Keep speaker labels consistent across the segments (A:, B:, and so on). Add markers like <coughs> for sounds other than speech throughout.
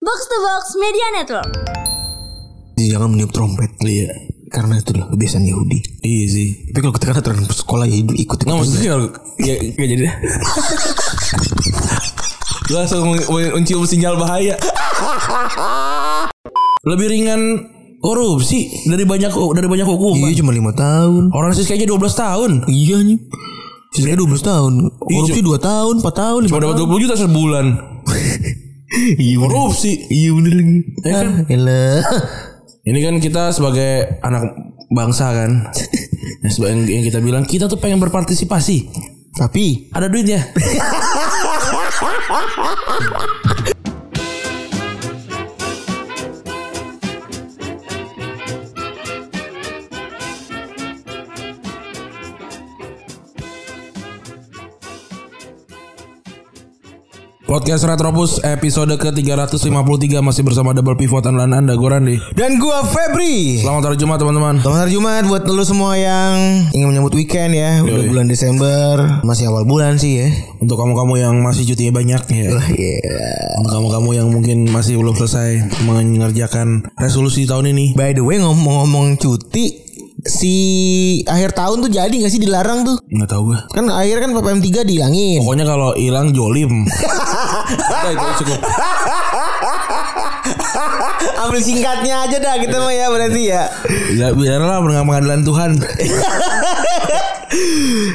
A: Box to Box Media Network.
B: Jangan meniup trompet Iya Karena itu adalah kebiasaan Yahudi
C: Iya sih.
B: Tapi kalau kita kan aturan sekolah ya ikut ikut
C: Nggak maksudnya kalau ya nggak jadi <laughs> dah. Lu langsung meng- men- mencium sinyal bahaya. Lebih ringan korupsi dari banyak dari banyak hukuman.
B: Iya cuma 5 tahun
C: Orang sis kayaknya 12 tahun.
B: Iya nih Sisanya 12 tahun Korupsi 2 tahun 4 tahun
C: Iya. Cuma
B: 5
C: dapat
B: tahun
C: 20 juta sebulan.
B: Iya bener
C: Korupsi.
B: Iya bener lagi
C: Ya kan?
B: Ah, elah.
C: Ini kan kita sebagai anak bangsa kan. Yang seba- yang- yang kita bilang kita tuh pengen berpartisipasi.
B: Tapi
C: Ada duitnya. Podcast Retropus episode ke-353 masih bersama Double Pivot dan Anda gue Randi.
B: Dan gua Febri
C: Selamat hari Jumat teman-teman.
B: Selamat hari Jumat buat lo semua yang ingin menyambut weekend ya Udah bulan Desember Masih awal bulan sih ya
C: Untuk kamu-kamu yang masih cutinya banyak ya.
B: Wah iya
C: Untuk kamu-kamu yang mungkin masih belum selesai mengerjakan resolusi tahun ini.
B: By the way ngomong-ngomong cuti Si akhir tahun tuh jadi gak sih dilarang tuh
C: Nggak tahu gue.
B: Kan akhir kan PPM 3 dihilangin
C: Pokoknya kalau hilang
B: <laughs>
C: jolim. Udah, itu cukup.
B: Ambil singkatnya aja dah kita mah ya berarti ya
C: Ya biarlah dengan pengadilan Tuhan.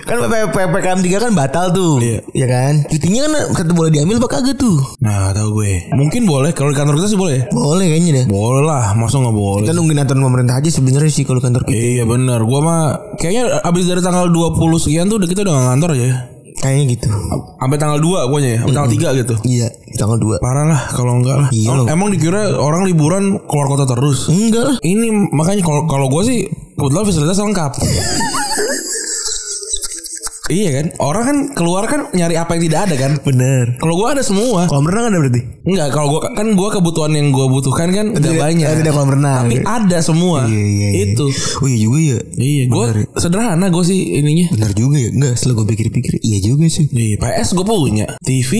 B: Kan PP PPKM 3 kan batal tuh
C: Iya.
B: Ya kan Cutinya kan kata boleh diambil apa kagak tuh
C: Nah, nggak tahu gue. Mungkin boleh kalau di kantor kita sih boleh. ya?
B: Boleh kayaknya deh
C: Boleh lah, masa nggak boleh.
B: Kita nungguin aturan pemerintah aja sebenarnya sih kalau kantor kita
C: Iya bener Gua mah kayaknya abis dari tanggal 20 sekian tuh udah kita udah nggak ngantor aja ya.
B: Kayaknya gitu
C: Sampai tanggal 2 gue ya, sampai tanggal 3 gitu.
B: Iya tanggal 2
C: Parah lah kalau enggak lah.
B: Iya
C: Em-
B: loh. Iya.
C: Emang dikira orang liburan keluar kota terus.
B: Enggak lah
C: Ini makanya kalau kalau gue sih kebetulan fasilitas lengkap.
B: <laughs>
C: iya kan? Orang kan keluar kan nyari apa yang tidak ada kan?
B: Bener
C: Kalau gue ada semua.
B: Kolam renang ada berarti
C: Enggak, kalau gua kan gua kebutuhan yang gua butuhkan kan udah
B: Tidak-
C: banyak.
B: eh, tidak kolam renang.
C: Tapi ada semua.
B: Iya iya iya
C: Itu.
B: Oh iya juga ya
C: Iya, gua
B: Bener ya.
C: sederhana gua sih ininya.
B: Bener juga ya Enggak setelah gue pikir-pikir Iya juga sih
C: Iya, PS gua punya. TV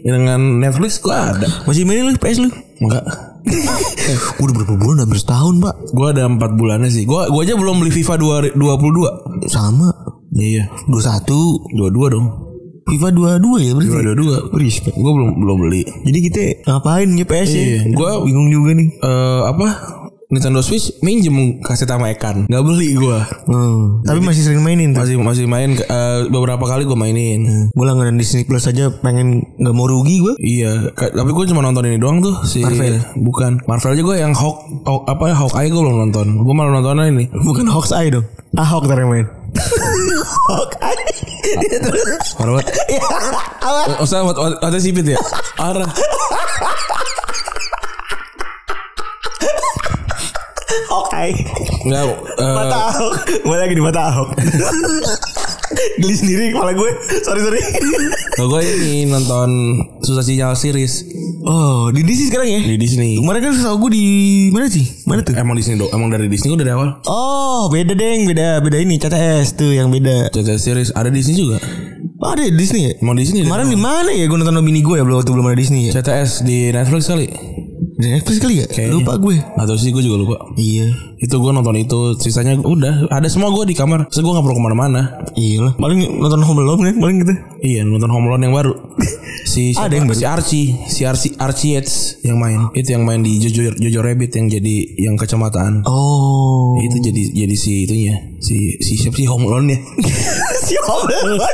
C: dengan Netflix gua ada.
B: Masih mainin lu PS lu
C: Enggak.
B: Eh, Udah berapa bulan hampir setahun pak
C: Gua ada 4 bulannya sih. Gua gua aja belum beli FIFA 22.
B: Sama
C: Iya.
B: 21
C: 22 dong.
B: FIFA 22 ya berarti
C: 22.
B: Respect
C: Gua belum belum beli.
B: Jadi kita ngapain ya PS ya
C: Iya. Gua-
B: bingung juga nih
C: eh apa Nintendo Switch minjem kaset sama Ekan nggak beli gua
B: Hmm. Tapi masih sering mainin tuh
C: masih masih main eh, beberapa kali gua mainin
B: Gue langganan Disney Plus aja pengen nggak mau rugi gue
C: iya ka- tapi gua cuma nonton ini doang tuh si
B: Marvel?
C: bukan Marvel aja gua yang Hawk, Hawk apa ya Hawkeye gua belum nonton gua malah nontonnya ini
B: Bukan Hawkeye dong Ahok ntar yang main Hawkeye
C: Hormat <laughs>
B: Ya, apa?
C: usah wat wat watnya sipit
B: <laughs>
C: ya arah
B: Hawkeye
C: nggak eh,
B: Mata Ahok Gue Ah, lagi di mata Ahok Geli sendiri kepala gue Sorry sorry
C: kalau Nah, gua ini nonton susah sinyal series
B: Oh di Disney sekarang ya
C: di Disney
B: Kemarin kan setahu gue di Mana sih? Mana tuh?
C: emang Disney do emang dari Disney gua dari awal
B: Oh beda deng Beda beda ini CTS tuh yang beda
C: Cerita series ada Disney juga
B: Oh, ada di Disney ya?
C: emang Disney dari
B: Kemarin di mana ya gue nonton Nobini gue ya belum waktu belum ada Disney ya?
C: CTS di Netflix kali
B: Di Netflix kali ya?
C: Kayaknya.
B: Lupa gue.
C: Atau sih gue juga lupa
B: Iya.
C: Itu gue nonton itu Sisanya udah Ada semua gue di kamar Terus gue gak perlu kemana-mana
B: Iyalah. Paling nonton Home Alone kan paling gitu.
C: Iya nonton Home Alone yang <laughs> baru Si siapa?
B: Ada yang baru?
C: Si Archie Si Archie, Archie Yates Yang main Itu yang main di Jojo, Jojo Rabbit Yang jadi Yang kecamatan
B: Oh.
C: <laughs> Itu jadi jadi si itunya Si, si siapa sih Home <laughs> Alone ya
B: si Home Alone.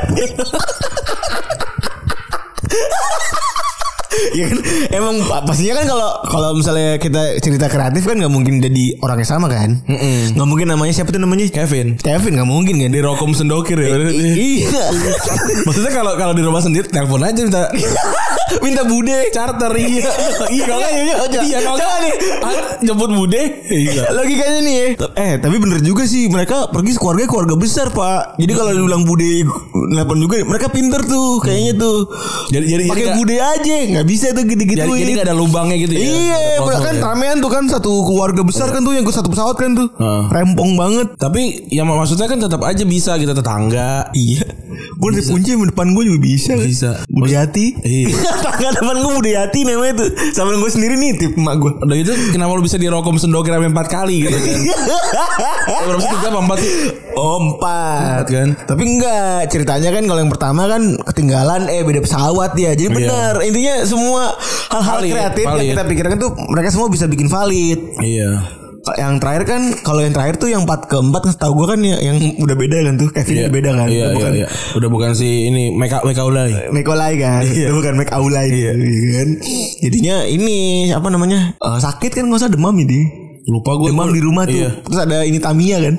B: ya kan emang pa- pastinya kan kalau kalau misalnya kita cerita kreatif kan nggak mungkin jadi orang yang sama kan nggak mungkin namanya siapa tuh namanya
C: Kevin
B: Kevin nggak mungkin kan
C: Di Rokom Sendokir ya
B: iya
C: Maksudnya kalau kalau di rumah sendiri Telepon aja minta Minta bude Charter Iya Iya kalau nggak, iya, iya. Iya kalau nggak, ah, Jemput bude Iya <laughs>
B: Logikanya nih ya. Eh tapi bener juga sih mereka pergi keluarga keluarga besar pak. Jadi kalau
C: Hmm.
B: dibilang bude nelpon juga mereka pinter tuh kayaknya tuh.
C: Jadi jadi jadi
B: Pakai
C: nggak-
B: bude aja nggak nggak bisa tuh gitu-gitu.
C: Jadi, jadi gak ada lubangnya gitu ya.
B: Iya,
C: Ada
B: kan
C: crossover ya. Iya.
B: ramean tuh kan satu keluarga besar kan tuh yang ke satu pesawat kan tuh.
C: Heeh.
B: Rempong banget.
C: Tapi yang maksudnya kan tetap aja bisa kita tetangga.
B: Iya. Gue dari kunci yang depan gue juga bisa.
C: Bisa.
B: Budiati.
C: Iya.
B: <laughs> Tangga depan gue Budiati namanya tuh. Sama gue sendiri nitip emak gue.
C: <laughs> Udah gitu kenapa lu bisa dirokom sendokir sampai 4 kali
B: <laughs>
C: gitu kan. Eh, Berapa sih 3 apa 4 sih?
B: Oh, empat
C: Empat, kan?
B: Tapi enggak ceritanya kan kalau yang pertama kan ketinggalan eh beda pesawat dia. Jadi benar intinya semua hal-hal
C: Iya. Valid,
B: kreatif yang
C: valid.
B: kita pikirkan tuh mereka semua bisa bikin valid.
C: Iya.
B: Yang terakhir kan kalau yang terakhir tuh yang empat keempat setahu gua kan ya, yang udah beda kan tuh Kevin
C: Iya
B: udah beda kan.
C: Iya,
B: Udah
C: iya,
B: bukan
C: iya. Udah bukan si ini Meka Meka Ulai.
B: Mekolai kan,
C: Iya.
B: Udah bukan Mek Aulai gitu, iya kan. Jadinya ini apa namanya? Eh, sakit kan nggak usah demam ini.
C: Lupa gue
B: Demam di rumah tuh.
C: Iya. Hmm.
B: Terus ada ini Tamiya kan.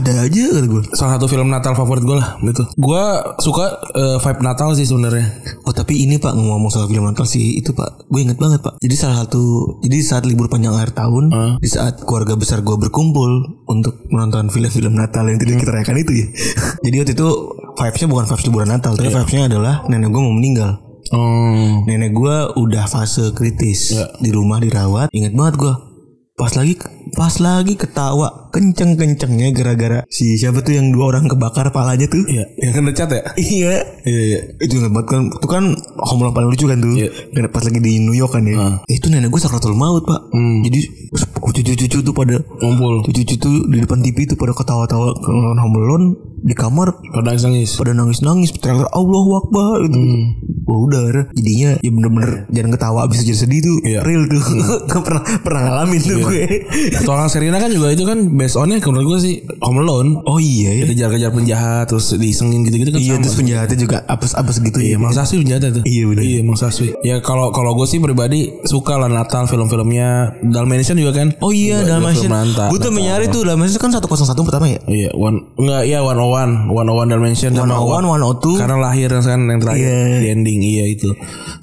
B: Ada aja kata gue.
C: Salah satu film Natal favorit gue lah gitu. Gue suka eh, vibe Natal sih sebenarnya.
B: Oh tapi ini pak ngomong soal film Natal sih itu pak Gue inget banget pak Jadi salah satu Jadi saat libur panjang akhir tahun Di saat keluarga besar gue berkumpul Untuk menonton film-film Natal yang tidak kita rayakan itu ya <laughs> Jadi waktu itu Vibesnya bukan vibes liburan Natal Tapi vibesnya adalah nenek gue mau meninggal
C: Oh.
B: Nenek gue udah fase kritis Di rumah dirawat Ingat banget gue Pas lagi pas lagi ketawa kenceng-kencengnya gara-gara si siapa tuh yang dua orang kebakar palanya tuh
C: Iya, yang kena cat ya?
B: Iya
C: Iya, iya.
B: itu ingat banget kan itu kan homeland paling lucu kan tuh
C: Iya. Ah.
B: Karena pas lagi di New York kan ya Eh, itu nenek gue sakratul maut pak
C: Hmm.
B: jadi cucu-cucu tuh pada
C: Ngumpul.
B: cucu-cucu tuh di depan TV tuh pada ketawa-tawa nonton Home Alone di kamar
C: Pada nangis.
B: pada nangis-nangis teriak Allah Akbar gitu
C: Hmm.
B: Wah, udah akhirnya jadinya ya bener-bener jangan ketawa abis jadi sedih tuh
C: Iya.
B: real tuh <laughs> pernah pernah ngalamin tuh gue
C: Tolong Serena kan juga itu kan based onnya menurut gue sih Home Alone.
B: oh iya ya
C: Kejar-kejar penjahat terus disengin gitu-gitu kan
B: iya
C: sama.
B: terus penjahatnya juga apes-apes gitu
C: Iya,
B: ya
C: Mang Saswi penjahat itu.
B: Iya, bener.
C: Iya, Mang Saswi. Ya kalau kalau gue sih pribadi suka lah Natal film-filmnya Dalmatian juga kan.
B: Oh iya
C: Juga- juga
B: Dalmatian
C: film Natal.
B: Gue tuh menyari tuh Dalmatian itu kan 101 pertama ya
C: Iya, one enggak iya 101, 101 Dalmatian sama
B: 101, 102.
C: Karena lahir kan yang terakhir
B: Iya.
C: di ending iya itu.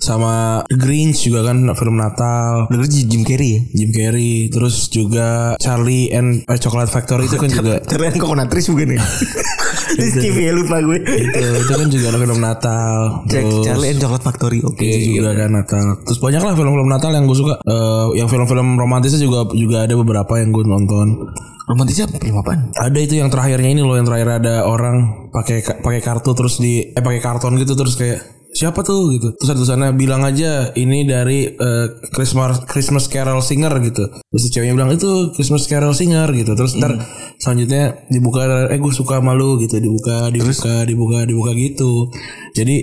C: Sama The Grinch juga kan film Natal.
B: Udah gitu Jim Carrey ya
C: Jim Carrey, terus juga Charlie and eh, Chocolate Factory itu kan juga
B: Carian coconut trees bukan ya? <laughs> Rizky ya lupa gue.
C: itu itu kan juga ada film Natal.
B: Cek
C: Terus-
B: Charlie and Chocolate Factory. Oke.
C: Iya, itu juga ada Natal. Terus banyak lah film-film Natal yang gue suka. Eh, yang film-film romantisnya juga juga ada beberapa yang gue nonton.
B: Romantisnya film apaan?
C: Ada itu yang terakhirnya ini loh yang terakhir ada orang pakai ka- pakai kartu terus di eh pakai karton gitu terus kayak siapa tuh gitu. Terus ada tulisannya bilang aja ini dari eh, Christmas Christmas Carol Singer gitu. Terus si ceweknya bilang itu Christmas Carol Singer gitu. Terus ntar selanjutnya dibuka eh gue suka sama lu gitu dibuka dibuka dibuka dibuka gitu. Jadi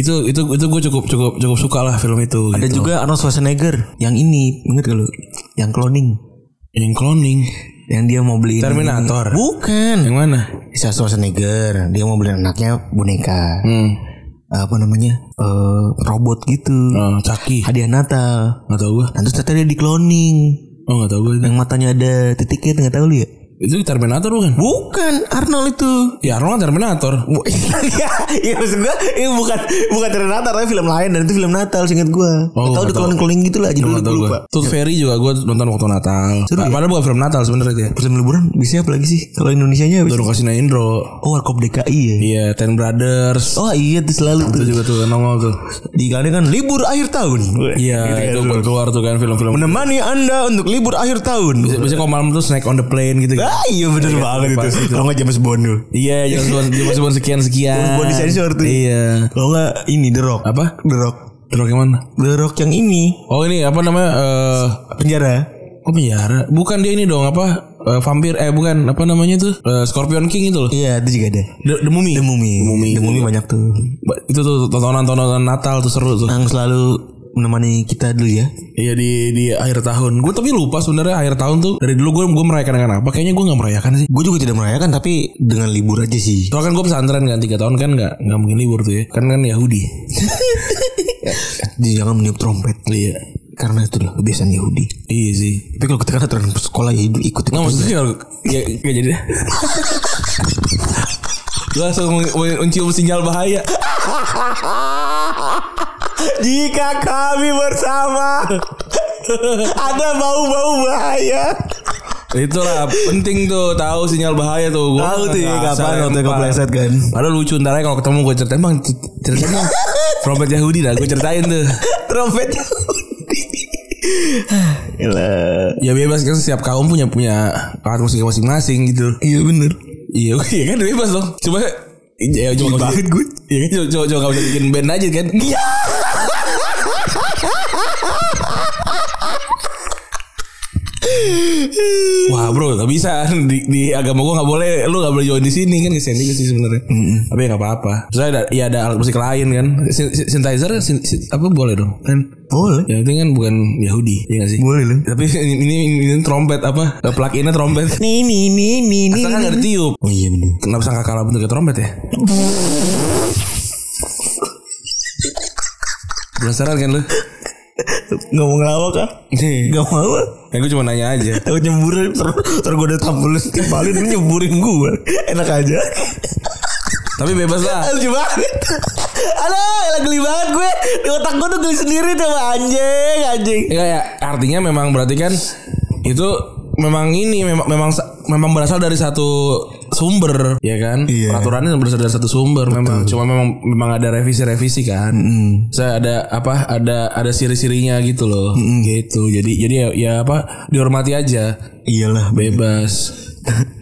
C: itu itu itu gue cukup cukup cukup suka lah film itu.
B: Ada
C: gitu.
B: juga Arnold Schwarzenegger yang ini inget gak lu? Yang cloning,
C: yang cloning
B: yang dia mau beli
C: Terminator.
B: Bukan.
C: Yang mana?
B: Arnold Schwarzenegger, dia mau beli anaknya boneka.
C: Hmm.
B: Apa namanya? Eh, robot gitu.
C: Oh, Caki.
B: Hadiah Natal.
C: Gak tau gue.
B: Nah, terus ternyata dia di cloning.
C: Oh gak tau gue.
B: Yang matanya ada titiknya nggak tahu lu ya?
C: Itu Terminator bukan?
B: Bukan Arnold itu.
C: Ya Arnold Terminator.
B: Bu- Iya, iya maksud gue ini bukan bukan dari Natal tapi film lain dan itu film Natal seingat gue. Oh,
C: Oh,
B: tahu
C: nggak
B: di
C: tahu.
B: keloning-keloning gitu lah jadi
C: Gak tau gue.
B: lupa. Iya.
C: Tooth Fairy juga gue nonton waktu Natal. Pa- Padahal bukan film Natal sebenarnya itu ya.
B: Film liburan biasanya apa lagi sih? Kalau Indonesianya apa? sih?
C: Baru kasih Indro.
B: Oh, Warkop DKI ya.
C: Iya Ten Brothers.
B: Oh iya tuh selalu tuh.
C: Itu juga tuh nongol tuh.
B: Di kalian kan Gitu, libur akhir tahun.
C: Iya itu baru keluar tuh kan film-film.
B: Menemani Anda untuk libur akhir tahun.
C: Biasanya kalau malam tuh snack on the plane gitu kan.
B: Ah, iya bener banget
C: pas
B: itu. Kalau nggak James Bond tuh.
C: Iya, yang cuma sekian sekian.
B: James Bond disensor tuh.
C: Iya.
B: Kalau nggak ini The Rock.
C: Apa?
B: The Rock.
C: Drog yang mana?
B: The Rock yang ini
C: Oh ini apa namanya? Eh
B: penjara.
C: Oh penjara Bukan dia ini dong apa eh, Vampir Eh bukan Apa namanya tuh Eh, Scorpion King itu loh
B: Iya, itu juga ada.
C: The, The Mummy
B: The Mummy. The Mummy banyak tuh.
C: Ba- Itu tuh tontonan-tontonan Natal tuh seru tuh
B: yang selalu menemani kita dulu ya.
C: Iya di di akhir tahun Gue tapi lupa sebenarnya akhir tahun tuh Dari dulu gue gue merayakan dengan apa Kayaknya gue gak merayakan sih
B: Gue juga tidak merayakan tapi dengan libur aja sih.
C: Soalnya kan gue pesantren kan 3 tahun kan gak, nggak mungkin libur tuh ya Kan kan Yahudi
B: Jadi jangan meniup trompet. ya.
C: Iya
B: Karena itu adalah kebiasaan Yahudi.
C: Iya sih
B: Tapi kalau kita kan aturan sekolah ya ikut ikut.
C: Nggak maksudnya kalau Ya gak jadi deh <laughs> Gue langsung men- men- mencium sinyal bahaya
B: <laughs> Jika kami bersama <laughs> ada bau-bau bahaya.
C: Itulah penting tuh tahu sinyal bahaya tuh. Gua
B: Tahu tuh ya,
C: nggak
B: kapan
C: asal
B: waktu
C: lempar. <laughs>
B: kepleset kan. <laughs>
C: Padahal lucu ntar aja kalau ketemu gue ceritain bang cer- ceritain bang. Trompet Yahudi dah gue ceritain tuh.
B: Trompet Yahudi. Gila.
C: Ya bebas kan setiap kaum punya punya alat musik masing-masing gitu.
B: Iya bener.
C: Iya, <laughs> iya kan bebas dong. Cuma ya cuma nggak bisa-
B: Banget gue.
C: Iya kan cuma cuma cuma nggak bisa bikin band aja kan. Iya. <laughs> Wah bro nggak bisa di, di agama gua nggak boleh lu nggak boleh join di sini kan kesian juga sih sebenarnya tapi ya nggak apa-apa terus ada ya ada alat musik lain kan Sin- sin- synthesizer sin- sin- apa boleh dong kan
B: Boleh.
C: yang penting kan bukan Yahudi ya nggak sih
B: Boleh lah.
C: tapi <laughs> ini, ini, ini trompet apa plug innya trompet
B: <laughs> Nih nih nih nih nih.
C: Asalkan nggak ditiup
B: Oh iya bener.
C: Kenapa sangka kalah bentuknya trompet ya? Penasaran kan lu? <laughs>
B: Gak mau ngelawak ah. Gak mau ah.
C: Ya gue cuma nanya aja
B: Takut nyemburin ter tergoda tampulin timpalin ini nyemburin gue. Enak aja.
C: Tapi bebas lah
B: Lucu banget. Aduh, elah geli banget gue. Di otak gue tuh geli sendiri tuh anjing, anjing.
C: Ya, ya artinya memang berarti kan Itu memang ini memang memang sa- memang berasal dari satu sumber ya kan
B: Iya.
C: peraturannya berasal dari satu sumber memang cuma memang memang ada revisi-revisi kan saya ada apa ada ada siri-sirinya gitu loh gitu jadi jadi ya, ya apa dihormati aja
B: Iyalah, Beb.
C: bebas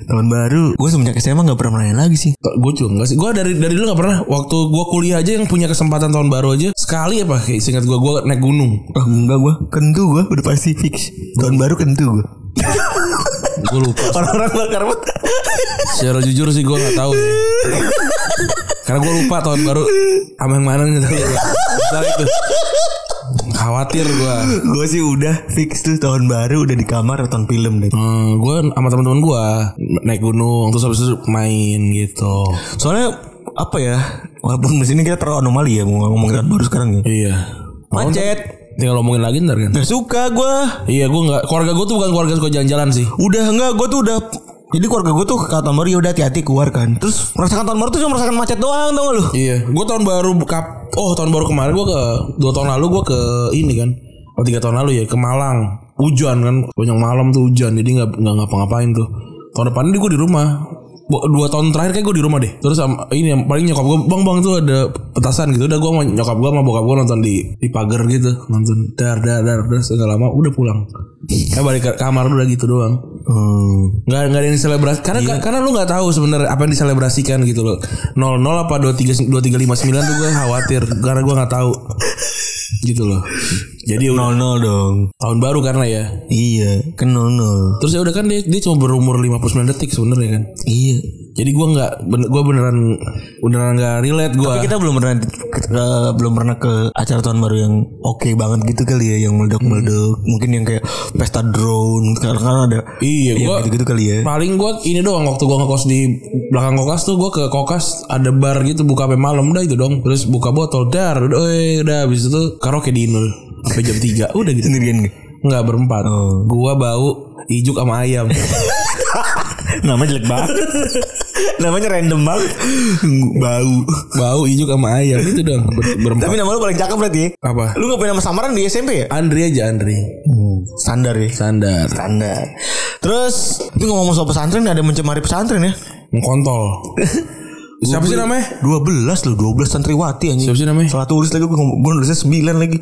B: Tahun baru. Gue semenjak SMA gak pernah main lagi sih.
C: Gue juga enggak sih. Gue dari dari dulu nggak pernah. Waktu gue kuliah aja yang punya kesempatan tahun baru aja sekali apa? Kayak singkat gue gue naik gunung.
B: Oh, enggak gue kentu gue udah pasti fix tahun baru kentu gue
C: Gue lupa.
B: orang-orang bakar mata
C: Secara jujur sih gue nggak tahu. ya. Karena gue lupa tahun baru sama yang mana nih tadi. Ntar itu. Khawatir gue.
B: gue sih udah fix tuh tahun baru udah di kamar nonton film deh
C: Hmm, gue sama teman-teman gue naik gunung terus habis itu main gitu.
B: soalnya apa ya walaupun di sini kita terlalu anomali ya mau ngomong tahun baru sekarang ya
C: Iya. Mau
B: macet
C: ntar- Tinggal ngomongin lagi ntar kan.
B: nggak suka gue
C: Iya gue nggak keluarga gue tuh bukan keluarga yang suka jalan-jalan sih.
B: udah enggak gue tuh udah jadi keluarga gue tuh kata tahun baru ya udah hati-hati keluar kan terus merasakan tahun baru tuh cuma merasakan macet doang tau gak lu
C: Iya, gue tahun baru kap oh tahun baru kemarin gue ke dua tahun lalu gue ke ini kan, oh tiga tahun lalu ya ke Malang, hujan kan banyak malam tuh hujan jadi nggak nggak ngapa-ngapain tuh. Tahun depan ini gue di rumah, Bu- dua tahun terakhir kayak gue di rumah deh. Terus sama, ini yang paling nyokap gue bang bang tuh ada petasan gitu, udah gue sama nyokap gue sama bokap gue nonton di di pagar gitu, nonton dar dar dar dar segala lama udah pulang. Eh balik ke kamar udah gitu doang. Nggak, nggak ada yang diselebrasi karena
B: Iya.
C: karena lu nggak tahu sebenarnya apa yang diselebrasikan gitu loh. 00 apa 23 2359 tuh gue khawatir karena gue nggak tahu. Gitu loh. Jadi
B: nol
C: udah
B: nol dong
C: tahun baru karena ya.
B: iya kan nol nol
C: Terus ya udah kan dia dia cuma berumur 59 detik sebenarnya kan.
B: iya
C: Jadi gue nggak ben- gue beneran beneran nggak relate gue.
B: Tapi kita belum pernah kita belum pernah ke acara tahun baru yang oke banget gitu kali ya yang meledak-meledak.
C: Hmm.
B: Mungkin yang kayak pesta drone karena kan ada
C: Iya,
B: yang
C: gua-
B: gitu-gitu kali ya.
C: Paling gue ini doang waktu gue ngekos di belakang kokas tuh gue ke kokas ada bar gitu buka sampai malam udah itu dong. Terus buka botol dar udah eh, udah habis itu karaoke di Inul sampai jam 3 udah gitu.
B: Sendirian gak?
C: Enggak berempat. Gua bau ijuk sama <laughs> ayam.
B: Namanya jelek banget. <laughs> Namanya random banget. Bau.
C: bau ijuk sama ayam itu dong ber- berempat.
B: Tapi nama lu paling cakep berarti ya.
C: Apa?
B: Lu gak punya nama samaran di SMP ya?
C: Andri aja Andri.
B: Standar ya.
C: Standar.
B: Standar. Terus ini ngomong soal pesantren ada yang mencemari pesantren ya?
C: Mengkontol. Siapa sih namanya?
B: 12 loh 12 santriwati anjing Eh.
C: Siapa sih namanya?
B: Salah tulis lagi gue, ngom- gue nulisnya 9 lagi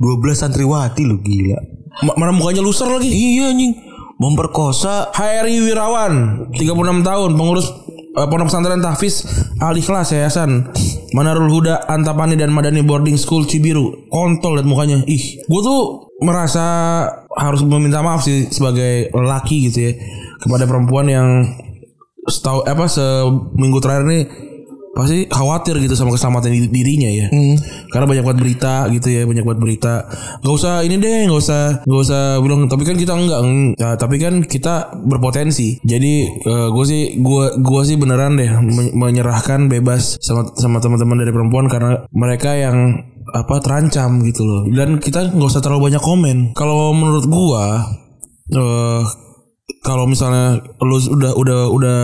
B: 12 santriwati lo gila
C: Ma- Mana mukanya loser lagi?
B: Iya anjing Memperkosa
C: Hairi Wirawan, 36 tahun, pengurus eh, Pondok Pesantren Tahfiz Al Ikhlas Yayasan Manarul Huda Antapani dan Madani Boarding School Cibiru. Kontol liat mukanya. Ih, gue tuh merasa harus meminta maaf sih sebagai lelaki gitu ya kepada perempuan yang setahu apa seminggu terakhir nih pasti khawatir gitu sama keselamatan di- dirinya ya karena banyak buat berita gitu ya banyak buat berita nggak usah ini deh nggak usah nggak usah bilang tapi kan kita enggak Eng. Ya, tapi kan kita berpotensi jadi gue sih gua gua sih beneran deh men- menyerahkan bebas sama sama teman-teman dari perempuan karena mereka yang apa terancam gitu loh dan kita nggak usah terlalu banyak komen kalau menurut gua eh kalau misalnya lu udah udah udah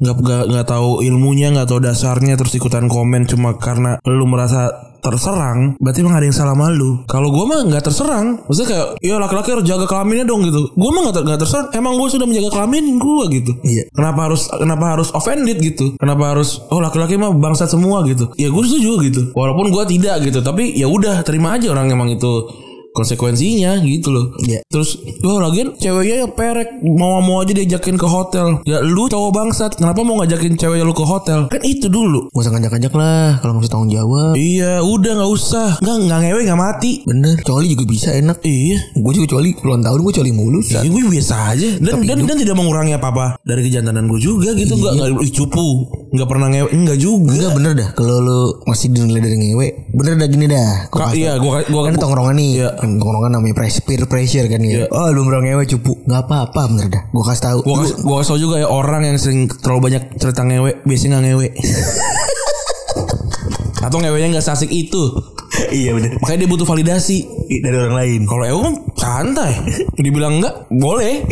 C: nggak nggak nggak tahu ilmunya nggak tahu dasarnya terus ikutan komen cuma karena lu merasa terserang, berarti emang ada yang salah malu. Kalau gua mah nggak terserang, maksudnya kayak, ya laki-laki harus jaga kelaminnya dong gitu. Gua mah nggak ter- nggak terserang, emang gua sudah menjaga kelamin gua gitu.
B: Iya.
C: Kenapa harus kenapa harus offended gitu? Kenapa harus oh laki-laki mah bangsat semua gitu? Ya gua setuju gitu. Walaupun gua tidak gitu, tapi ya udah terima aja orang emang itu konsekuensinya gitu loh.
B: Iya.
C: Terus wah lagian ceweknya yang perek mau-mau aja diajakin ke hotel. Ya lu cowok bangsat, kenapa mau ngajakin cewek lu ke hotel? Kan itu dulu.
B: Gak usah ngajak-ngajak lah kalau nggak usah tanggung jawab.
C: Iya, udah nggak usah. Nggak nggak ngewe nggak mati.
B: Bener, coli juga bisa enak.
C: Iya.
B: Gue juga coli, puluhan tahun gue coli mulu.
C: Ya, gue biasa aja dan dan, dan tidak mengurangi apa-apa dari kejantanan gue juga gitu nggak nggak ih, cupu nggak pernah ngewe nggak juga
B: Enggak bener dah kalau lu masih dinilai dari ngewe Bener dah gini dah
C: Ka- iya gua gua
B: kan
C: kan
B: ini tongkrongan nih
C: Iya.
B: kan tongkrongan namanya pressure, peer pressure kan ya oh lu merang ngewe cupu nggak apa-apa bener dah gue kasih tahu
C: gua kas- gua kasih tau juga ya orang yang sering terlalu banyak cerita ngewe biasanya
B: <laughs>
C: nggak ngewe atau ngewenya nggak sasik itu
B: <laughs> iya bener
C: Makanya dia butuh validasi.
B: dari orang lain
C: Kalau Ewo kan santai. Dibilang
B: <laughs>
C: enggak, boleh.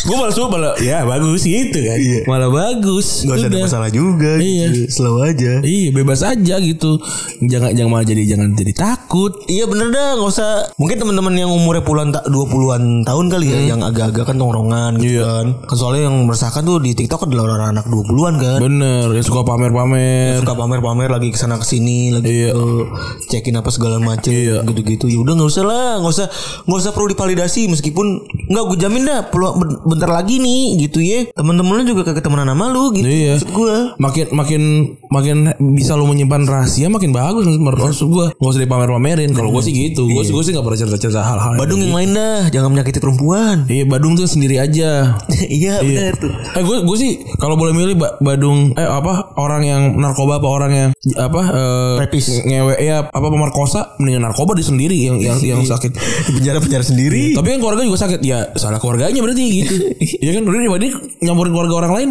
C: gue malah suka malah ya bagus gitu kan.
B: Iya.
C: Malah bagus.
B: Gak usah ada
C: Udah.
B: masalah juga gitu.
C: Iya.
B: Slow aja
C: Iya bebas aja gitu. Jangan jangan malah jadi jangan jadi takut.
B: Iya bener dah nggak usah Mungkin teman-teman yang umurnya puluhan ta- 20-an tahun kali ya Yang agak-agak kan tongkrongan gitu
C: Iya.
B: kan Kan Soalnya yang meresahkan tuh di tiktok adalah orang anak 20-an kan
C: Bener, ya suka pamer-pamer.
B: suka pamer-pamer lagi kesana kesini lagi
C: Iya.
B: eh, cekin apa segala macem gitu-gitu ya udah nggak usah lah nggak usah nggak usah perlu divalidasi meskipun nggak gue jamin dah perlu ben- bentar lagi nih gitu ya teman-teman lu juga kagak temenan sama lu gitu
C: Iya.
B: maksud gue
C: Makin makin makin bisa lu menyimpan rahasia makin bagus menurut gue. Gak usah dipamer-pamerin. Kalau gue sih gitu. Gue sih gue sih gak pernah cerita-cerita hal-hal.
B: Iya. Badung yang lain dah jangan menyakiti perempuan <laughs>
C: Iya Badung tuh sendiri aja.
B: iya benar tuh
C: Eh gue gue sih kalau boleh milih Ba- Badung eh apa orang yang narkoba apa orang yang apa eh,
B: Rapis.
C: ngewe ya apa pemerkosa mendingan narkoba di sendiri yang yang yang
B: Iya.
C: sakit.
B: penjara penjara sendiri
C: Tapi yang keluarga juga sakit ya salah keluarganya berarti
B: <laughs>
C: gitu. Iya kan udah dibanding nyampurin keluarga orang lain.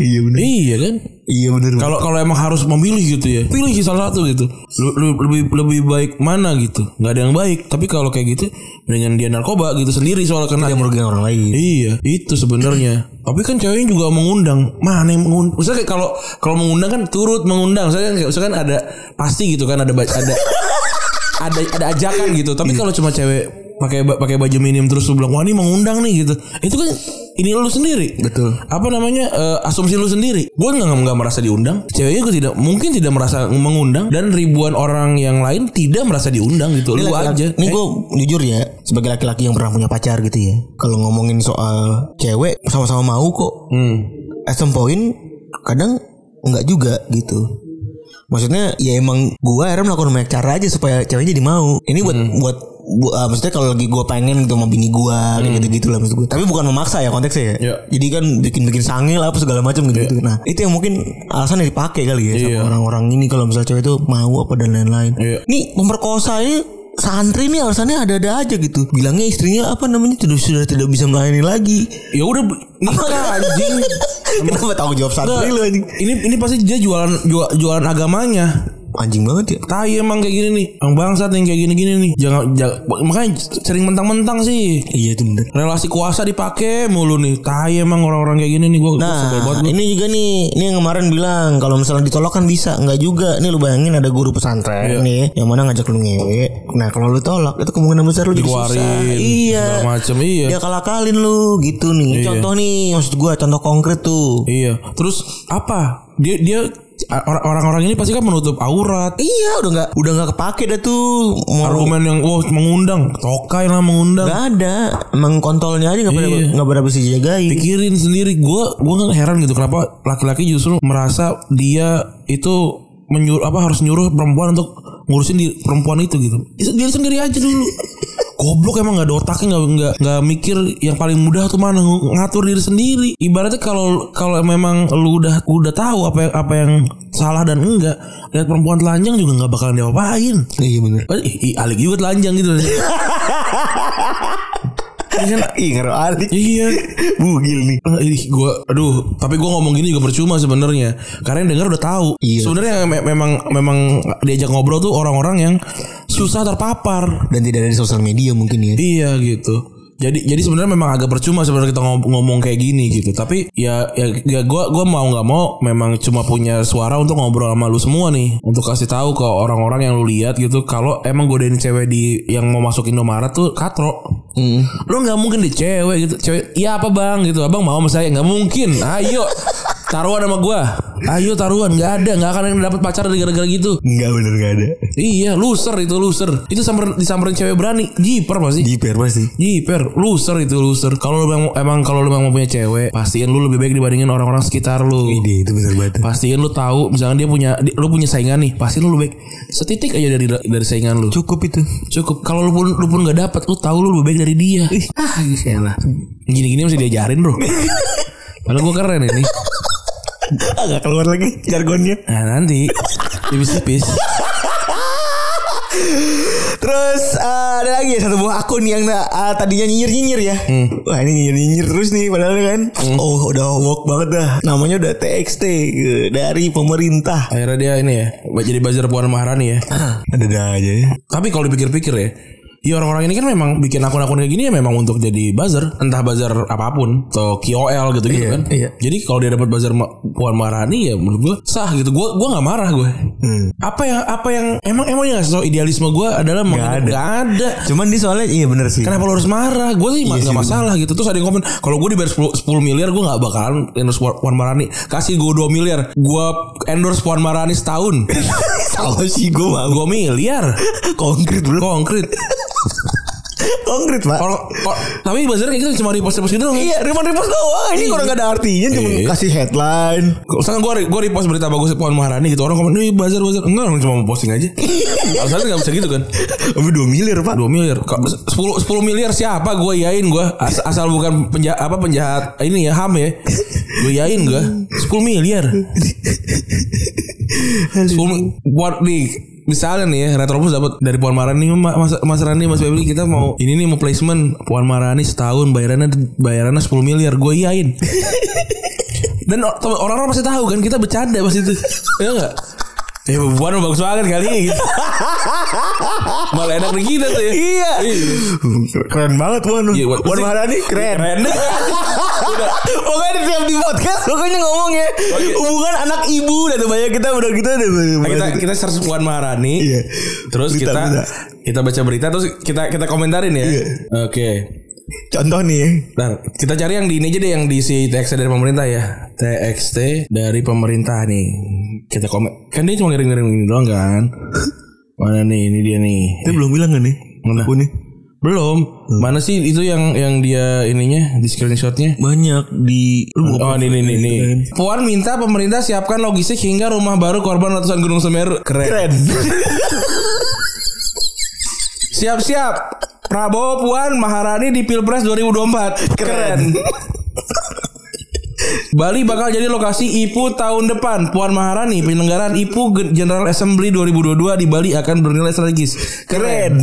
B: iya benar
C: Iya kan.
B: iya benar
C: Kalau kalau emang harus memilih gitu ya pilih salah satu gitu. Lu- lu- lebih lebih baik mana gitu? Gak ada yang baik. Tapi kalau kayak gitu mendingan dia narkoba gitu sendiri soal kena
B: yang merugikan orang lain
C: Iya, itu sebenarnya. Tapi kan ceweknya juga mengundang. Mana yang mengundang? Misalnya kayak kalau kalau mengundang kan turut mengundang. Misalnya kan, misalnya kan ada pasti gitu kan ada ba- ada ada ada ajakan gitu. Tapi kalau cuma cewek pakai ba- pakai baju minim terus lu bilang wah ini mengundang nih gitu. Itu kan ini lu sendiri.
B: Betul.
C: Apa namanya? eh, asumsi lu sendiri. Gua nggak nggak merasa diundang. Ceweknya gua tidak mungkin tidak merasa mengundang dan ribuan orang yang lain tidak merasa diundang gitu.
B: Ini
C: Lu
B: laki-laki-
C: aja.
B: Ini gue jujur ya Sebagai laki-laki yang pernah punya pacar gitu ya Kalau ngomongin soal cewek Sama-sama mau kok At some point Kadang Enggak juga gitu Maksudnya ya emang gua akhirnya melakukan banyak cara aja supaya ceweknya jadi mau. Ini buat buat bu- ah, maksudnya kalau lagi gua pengen gitu sama bini gua kayak gitu-gitu lah maksud gua. Tapi bukan memaksa ya konteksnya ya.
C: Iya.
B: Jadi kan bikin-bikin sangil apa segala macam gitu, gitu. Nah, itu yang mungkin alasan yang dipakai kali ya
C: Iya.
B: sama orang-orang ini kalau misalnya cewek itu mau apa dan lain-lain.
C: Iya.
B: Nih pemerkosa ini santri nih alasannya ada-ada aja gitu. Bilangnya istrinya apa namanya sudah sudah tidak bisa melayani lagi. <laughs>
C: Ya udah nikah anjing.
B: Kenapa tanggung jawab santri
C: Enggak.
B: lu anjing?
C: Ini ini pasti dia jualan jual- jualan agamanya.
B: Anjing banget ya.
C: Tai emang kayak gini nih. Ang bangsat yang kayak gini-gini nih. Jangan, jangan- makanya sering mentang-mentang sih.
B: Iya itu bener.
C: Relasi kuasa dipakai mulu nih. Tai emang orang-orang kayak gini nih gua, gua sebel banget
B: Nah,
C: gua.
B: ini juga nih, ini yang kemarin bilang kalau misalnya ditolak kan bisa, nggak juga. Nih lu bayangin ada guru
C: Iya.
B: pesantren nih, yang mana ngajak lu ngewe. Nah, kalau lu tolak itu kemungkinan besar lu jadi susah.
C: Dikeluarin
B: Iya.
C: segala macem iya.
B: Dia kalah-kalin lu gitu nih. Contoh nih, maksud gua contoh konkret tuh.
C: Iya. Terus apa? Dia dia or- orang-orang ini pasti kan menutup aurat.
B: Iya, udah nggak udah nggak kepake dah tuh. Mau
C: Argumen yang wah mengundang, tokai lah mengundang.
B: nggak ada, emang kontolnya aja nggak pernah
C: Iya.
B: nggak pernah bisa dijagain.
C: pikirin sendiri gue gue nggak heran gitu kenapa laki-laki justru merasa dia itu menyuruh apa harus nyuruh perempuan untuk ngurusin di perempuan itu gitu dia sendiri aja dulu goblok emang nggak ada otaknya nggak nggak nggak mikir yang paling mudah tuh mana ng- ngatur diri sendiri ibaratnya kalau kalau memang lu udah udah tahu apa yang, apa yang salah dan enggak lihat perempuan telanjang juga nggak bakalan diapa-apain
B: Iya bener.
C: eh, ih, alik juga telanjang gitu kan?
B: Ih, ngaruh alik.
C: iya
B: Bugil nih.
C: Eh, Ih, gua aduh, tapi gua ngomong gini juga percuma sebenarnya. Karena yang denger udah tahu.
B: Iya.
C: Sebenarnya me- memang memang diajak ngobrol tuh orang-orang yang susah terpapar.
B: Dan tidak ada di sosial media mungkin ya.
C: Iya gitu. Jadi jadi sebenarnya memang agak percuma sebenarnya kita ngom- ngomong kayak gini gitu. Tapi ya ya, ya gua gua mau nggak mau memang cuma punya suara untuk ngobrol sama lu semua nih. Untuk kasih tahu ke orang-orang yang lu lihat gitu kalau emang godain cewek di yang mau masuk Indomaret tuh katro. Lu nggak mungkin deh cewek gitu. Cewek, "Iya apa, Bang?" gitu. "Abang mau sama saya?" "Nggak mungkin." Ayo. Taruhan sama gua. Ayo taruhan, nggak ada, nggak akan ada yang dapat pacar dari gara-gara gitu.
B: Enggak bener enggak ada.
C: Iya, loser itu loser. Itu samper disamperin cewek berani, jiper pasti.
B: Jiper pasti.
C: Jiper, loser itu loser. Kalau lu emang, emang kalau lu emang mau punya cewek, pastiin lu lebih baik dibandingin orang-orang sekitar lu.
B: Ide itu bener banget.
C: Pastiin lu tahu misalnya dia punya di- lu punya saingan nih, pastiin lu lebih baik setitik aja dari dari saingan lu.
B: Cukup itu.
C: Cukup. Kalau lu pun lu pun gak dapat, lu tahu lu lebih baik dari dia. Ih, ah, gila. Gini-gini mesti diajarin, Bro. Padahal gue keren ini.
B: Agak Ah, keluar lagi jargonnya.
C: Nah, nanti tipis-tipis.
B: Terus eh, ada lagi ya satu buah akun yang eh, tadinya nyinyir-nyinyir ya.
C: Hmm.
B: Wah ini nyinyir-nyinyir terus nih padahal kan. Oh udah woke banget dah. Namanya udah TXT eh, dari pemerintah.
C: Akhirnya dia ini ya, jadi buzzer Puan Maharani ya.
B: Ada ada aja ya.
C: Tapi kalau dipikir-pikir ya, Ya orang-orang ini kan memang bikin akun-akun kayak gini ya memang untuk jadi buzzer, entah buzzer apapun atau KOL gitu-gitu
B: Iya,
C: kan.
B: iya.
C: Jadi kalau dia dapat buzzer Ma- Puan Maharani ya menurut gua sah gitu. Gua gua nggak marah gue.
B: Hmm.
C: Apa yang apa yang emang emang yang ngasih tau idealisme gua adalah
B: ada.
C: mengenai- nggak ada.
B: Cuman dia soalnya iya bener sih.
C: Kenapa lo harus marah? Gue sih nggak
B: Iya sih,
C: masalah gitu. Terus ada yang komen, kalau gue dibayar 10, 10 miliar, gue nggak bakalan endorse Puan Maharani. Kasih gue 2 miliar, gue endorse Puan Maharani setahun.
B: <laughs> Salah sih gue mau.
C: Gue
B: <laughs>
C: miliar,
B: Konkret bro.
C: konkret.
B: Konkret pak.
C: Kalau kalau- tapi bazarnya kayak gitu cuma repost repost gitu doang.
B: Iya, repost-repost doang. Ini kurang gak ada artinya cuma
C: Iya.
B: kasih headline.
C: Misalkan gue gue repost berita bagus Puan Maharani gitu orang komen, "Ih, bazar bazar." Enggak, orang cuma mau posting aja. Alasannya nggak bisa gitu kan.
B: Tapi 2 miliar, Pak.
C: 2 miliar. Ka- 10 10 miliar siapa gue yain gue As- asal bukan penjahat apa penjahat ini ya HAM ya. Gue yain gue 10 miliar. 10 mi- buat di misalnya nih ya Retrobus dapat dari Puan Maharani Ma- Mas, Mas Rani Mas Febri kita mau ini nih mau placement Puan Maharani setahun bayarannya bayarannya 10 miliar gue yain. Dan o- tem- orang-orang pasti tahu kan kita bercanda pas itu. Ya enggak? Ya Puan bagus banget kali gitu. Malah enak di kita tuh ya.
B: Iya. Keren banget, Wan.
C: Iya, Wan.
B: Wan Maharani keren.
C: Keren deh. Udah.
B: Pokoknya di tiap di podcast pokoknya ngomong ya hubungan anak ibu dan tuh banyak kita udah kita udah
C: Nah, kita kita search Puan Maharani.
B: Iya.
C: Terus
B: Berita,
C: kita
B: berita.
C: kita baca berita terus kita kita komentarin ya.
B: Iya.
C: Oke.
B: contoh nih ya.
C: Bentar, kita cari yang di ini aja deh yang diisi TXT dari pemerintah ya. TXT dari pemerintah nih. Kita komen. Kan dia cuma ngirim-ngirim ini doang kan. Mana nih ini dia nih.
B: Kita belum bilang kan nih.
C: Iya. Mana?
B: Aku nih
C: Belum. Mana sih itu yang yang dia ininya di screenshotnya?
B: banyak di lu
C: Oh ini ini ini. Puan minta pemerintah siapkan logistik hingga rumah baru korban letusan Gunung Semeru. Keren.
B: keren.
C: Siap-siap. Prabowo Puan Maharani di Pilpres 2024. Keren. Bali bakal jadi lokasi IPU tahun depan. Puan Maharani penyelenggaraan IPU Gen- General Assembly 2022 di Bali akan bernilai strategis. Keren.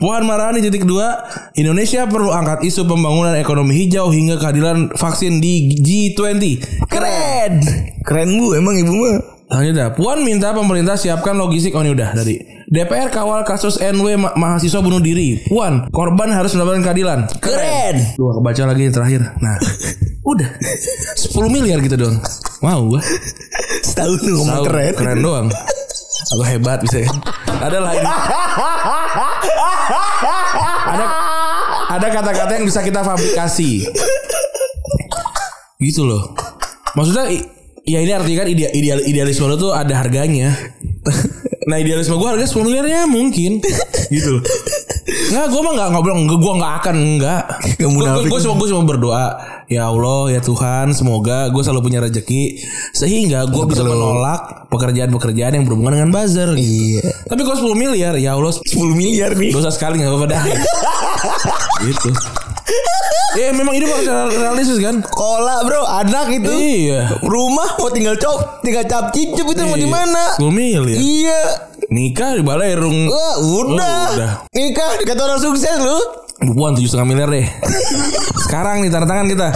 C: Puan Maharani titik kedua, Indonesia perlu angkat isu pembangunan ekonomi hijau hingga kehadiran vaksin di G20. Keren.
B: keren bu emang ibu mah.
C: Lanjut dah. Puan minta pemerintah siapkan logistik oh ini udah tadi. DPR kawal kasus NW ma- mahasiswa bunuh diri. Puan, korban harus mendapatkan keadilan.
B: Keren.
C: Dua kebaca lagi yang terakhir.
B: <laughs>
C: Nah, udah 10 miliar gitu dong. Wow, gua.
B: Setahun tuh ngomong
C: Tahu,
B: keren.
C: Keren doang. Aku hebat bisa. ya. Ada lah ini. Ada ada kata-kata yang bisa kita fabrikasi. Gitu loh. Maksudnya i- ya ini artinya kan ide- ideal, idealisme lo tuh ada harganya. Nah idealisme gue harga 10 miliar ya mungkin Gitu loh Nggak gue mah nggak ngobrol Gue nggak akan Nggak
B: Nggak munafik.
C: Gue cuma, gua cuma berdoa Ya Allah ya Tuhan Semoga gue selalu punya rezeki Sehingga gue bisa menolak Pekerjaan-pekerjaan yang berhubungan dengan buzzer Gitu.
B: Iya.
C: Tapi kalau 10 miliar Ya Allah
B: 10 miliar nih.
C: dosa sekali nggak apa-apa
B: <laughs>
C: dah Gitu Ya memang hidup harus realistis kan
B: Kola bro anak itu.
C: Iya
B: Rumah mau tinggal cop, tinggal cap cicip itu mau di
C: Iya.
B: mana?
C: 10 miliar
B: Iya.
C: Nikah di balai rung
B: Wah, udah.
C: Oh, udah.
B: Nikah dikata orang sukses lu.
C: Buan tujuh setengah miliar deh. Sekarang nih tanda tangan kita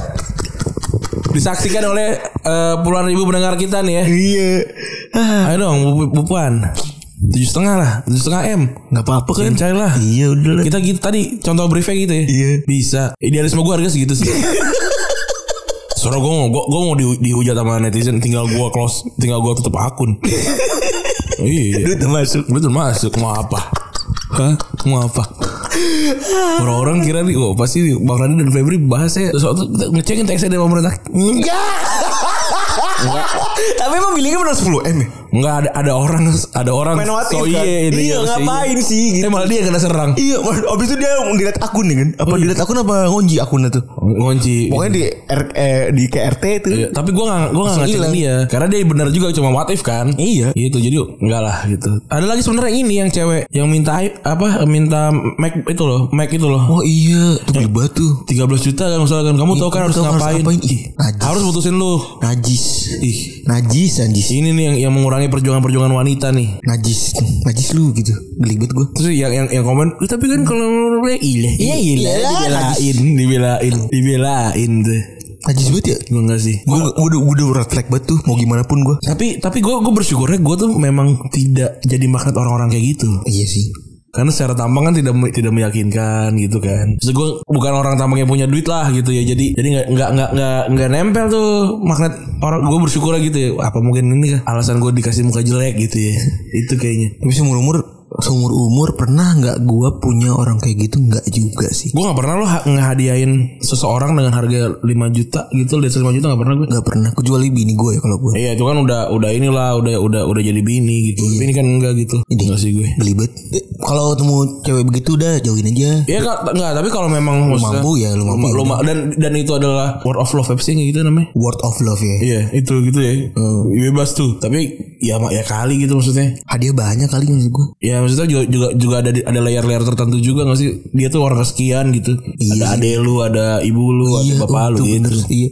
C: disaksikan oleh eh, puluhan ribu pendengar kita nih ya.
B: Iya.
C: Ayo dong Bu, Bu Puan. tujuh setengah lah tujuh setengah m
B: nggak apa-apa kan
C: Cari lah.
B: iya udah lah
C: kita gitu tadi contoh briefnya gitu ya
B: Iya.
C: bisa idealisme gue harga segitu
B: <laughs>
C: sih Soalnya gue mau, gue, mau di, dihujat sama netizen Tinggal gue close Tinggal gue tutup
B: <laughs>
C: akun Iya
B: duit udah masuk
C: Lu masuk Mau apa Hah? Mau apa Orang-orang kira nih Oh pasti Bang Rani dan Febri ya. bahasnya Sesuatu Ngecekin teksnya dari pemerintah
B: Iya.
C: Enggak
B: tapi emang bilangnya benar 10 m ya
C: Enggak ada ada orang ada orang
B: Main what
C: Oh, so
B: if, kan?
C: iye,
B: Iya,
C: so
B: ngapain
C: iye.
B: sih, gitu.
C: Eh malah dia yang kena serang.
B: iya abis itu dia dilihat akun ya kan apa
C: Oh, iya.
B: dilihat akun apa ngonji akunnya tuh
C: Ngunci.
B: pokoknya di R, eh, di KRT itu
C: Iya, tapi gua enggak gua enggak
B: Langsung
C: ngaceng
B: hilang.
C: dia. Karena dia benar juga cuma what if kan.
B: Iya.
C: Gitu jadi enggak lah gitu. Ada lagi sebenarnya ini yang cewek yang minta i- apa minta Mac itu loh, Mac itu loh.
B: oh iya tuh Iya, beli batu
C: 13 juta kan misalkan kamu tahu Eh, kan harus
B: Tahu
C: ngapain.
B: Ih, najis
C: Harus Iya. putusin lu.
B: najis ih najis najis
C: Ini nih yang yang mengurangi perjuangan-perjuangan wanita nih.
B: najis najis lu gitu belibet gue
C: Terus yang yang yang komen, "Eh, tapi kan kalau iya iya iya
B: iya lah,
C: dibelain, dibelain, dibelain tuh.
B: najis banget ya
C: Gua enggak sih.
B: gue udah udah red flag banget tuh mau gimana pun gue
C: Tapi tapi gue gue bersyukurnya gue tuh memang tidak jadi magnet orang-orang kayak gitu.
B: iya sih
C: Karena secara tampang kan tidak me- tidak meyakinkan gitu kan. Terus gue bukan orang tampang yang punya duit lah gitu ya. Jadi jadi nggak nggak nggak nggak nggak nempel tuh magnet orang. Gue bersyukur gitu ya. Apa mungkin ini kah alasan gue dikasih muka jelek gitu ya? Itu kayaknya.
B: tapi seumur umur seumur umur pernah nggak gue punya orang kayak gitu nggak juga sih
C: Gue nggak pernah lo ha- ngehadiahin seseorang dengan harga 5 juta gitu. Lihat 5 juta nggak pernah gue.
B: nggak pernah kecuali bini gue ya kalau gue
C: Iya itu kan udah udah inilah udah udah udah jadi bini gitu. Tapi ini kan enggak gitu. Enggak sih gue.
B: belibet Eh, kalau ketemu cewek begitu udah jauhin aja
C: Iya kak, enggak tapi kalau memang lu
B: mampu ya, lu mampu.
C: dan dan itu adalah word of love apa sih kayak gitu namanya.
B: word of love ya
C: Iya itu gitu ya bebas tuh tapi ya mak ya kali gitu maksudnya.
B: hadiah banyak kali maksud gue
C: Ya maksudnya juga juga, juga ada di- ada layer-layer tertentu juga nggak sih dia tuh orang kesekian gitu. Ada ade lu, ada ibu lu,
B: Iya,
C: ada bapak lu
B: tuh
C: gitu.
B: bener, iya.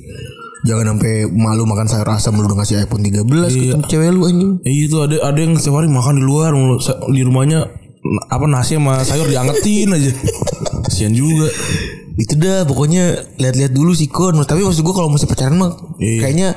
B: Jangan sampai malu makan sayur asam lu udah ngasih iPhone 13 ketemu cewek lu anjing.
C: Iya itu ada ada yang setiap hari makan di luar mulu. Sa- di rumahnya n- apa nasi sama sayur diangetin <laughs> aja. Kasian juga.
B: Itu dah pokoknya lihat-lihat dulu sih kon. Tapi maksud gua kalau masih pacaran mah
C: Iya.
B: kayaknya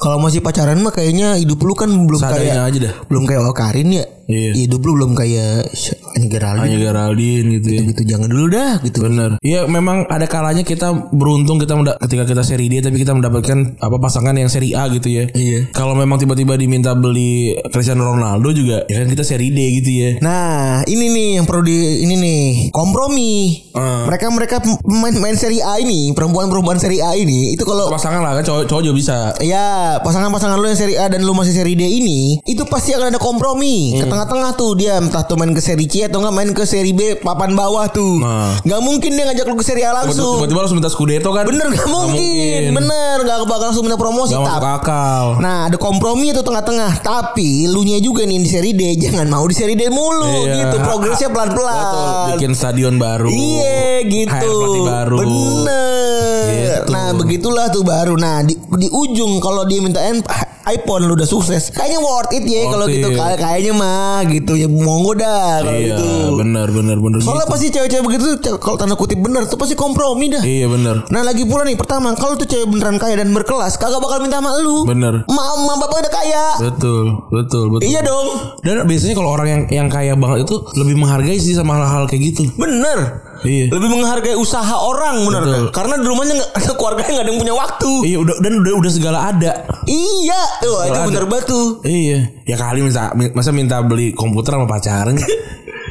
B: kalau masih pacaran mah kayaknya hidup lu kan belum
C: Seadanya
B: kayak
C: aja dah.
B: belum kayak oh, Karin ya.
C: Iya.
B: Hidup lu belum kayak Sh- Ani Geraldine
C: Hanya Geraldine gitu ya.
B: gitu jangan dulu dah gitu.
C: Bener. Iya memang ada kalanya kita beruntung kita menda- ketika kita seri D tapi kita mendapatkan apa pasangan yang seri A gitu ya.
B: Iya.
C: Kalau memang tiba-tiba diminta beli Cristiano Ronaldo juga ya kan kita seri D gitu ya.
B: Nah, ini nih yang perlu di ini nih kompromi. Mereka-mereka pemain-pemain seri A ini, perempuan-perempuan seri A ini itu kalau
C: Pasangan lah kan cowok, cowok juga bisa.
B: Ya pasangan-pasangan lu yang seri A dan lu masih seri D ini Itu pasti akan ada kompromi Ke tengah-tengah tuh dia Entah tuh main ke seri C atau nggak main ke seri B Papan bawah tuh
C: Nah.
B: Nggak mungkin dia ngajak lu ke seri A langsung
C: Tiba-tiba langsung minta Scudetto kan.
B: Bener nggak mungkin. Bener nggak bakal langsung minta promosi
C: Gak masuk
B: tapi
C: akal.
B: Nah ada kompromi itu tengah-tengah Tapi lu nya juga nih yang di seri D Jangan mau di seri D mulu
C: Iya.
B: gitu Progresnya
C: Betul,
B: pelan-pelan
C: bikin stadion baru.
B: Iya gitu.
C: Hire pelatih baru.
B: Bener.
C: Gitu.
B: Nah begitulah tuh baru. Nah di, di ujung kalau dia minta en- iPhone lu udah sukses. Kayaknya worth it ya
C: Worth
B: kalau gitu.
C: it.
B: Kay- Kayaknya mah gitu ya monggo dah kalau
C: Iya,
B: gitu.
C: bener bener bener.
B: Soalnya
C: gitu.
B: pasti cewek-cewek begitu ce- kalau tanda kutip bener tuh pasti kompromi dah.
C: Iya bener.
B: Nah lagi pula nih pertama kalau tuh cewek beneran kaya dan berkelas kagak bakal minta sama lu.
C: Bener.
B: Ma, ma bapak udah kaya.
C: Betul, betul, betul.
B: Iya dong.
C: Dan biasanya kalau orang yang yang kaya banget itu lebih menghargai sih sama hal-hal kayak gitu.
B: Bener.
C: Iya.
B: Lebih menghargai usaha orang bener.
C: Betul.
B: kan? Karena di rumahnya nggak ada keluarganya nggak ada yang punya waktu.
C: Iya udah dan udah udah segala ada.
B: Iya, tuh itu
C: ada.
B: bener banget tuh.
C: Iya. Ya kali minta masa minta beli komputer sama pacaran. <laughs>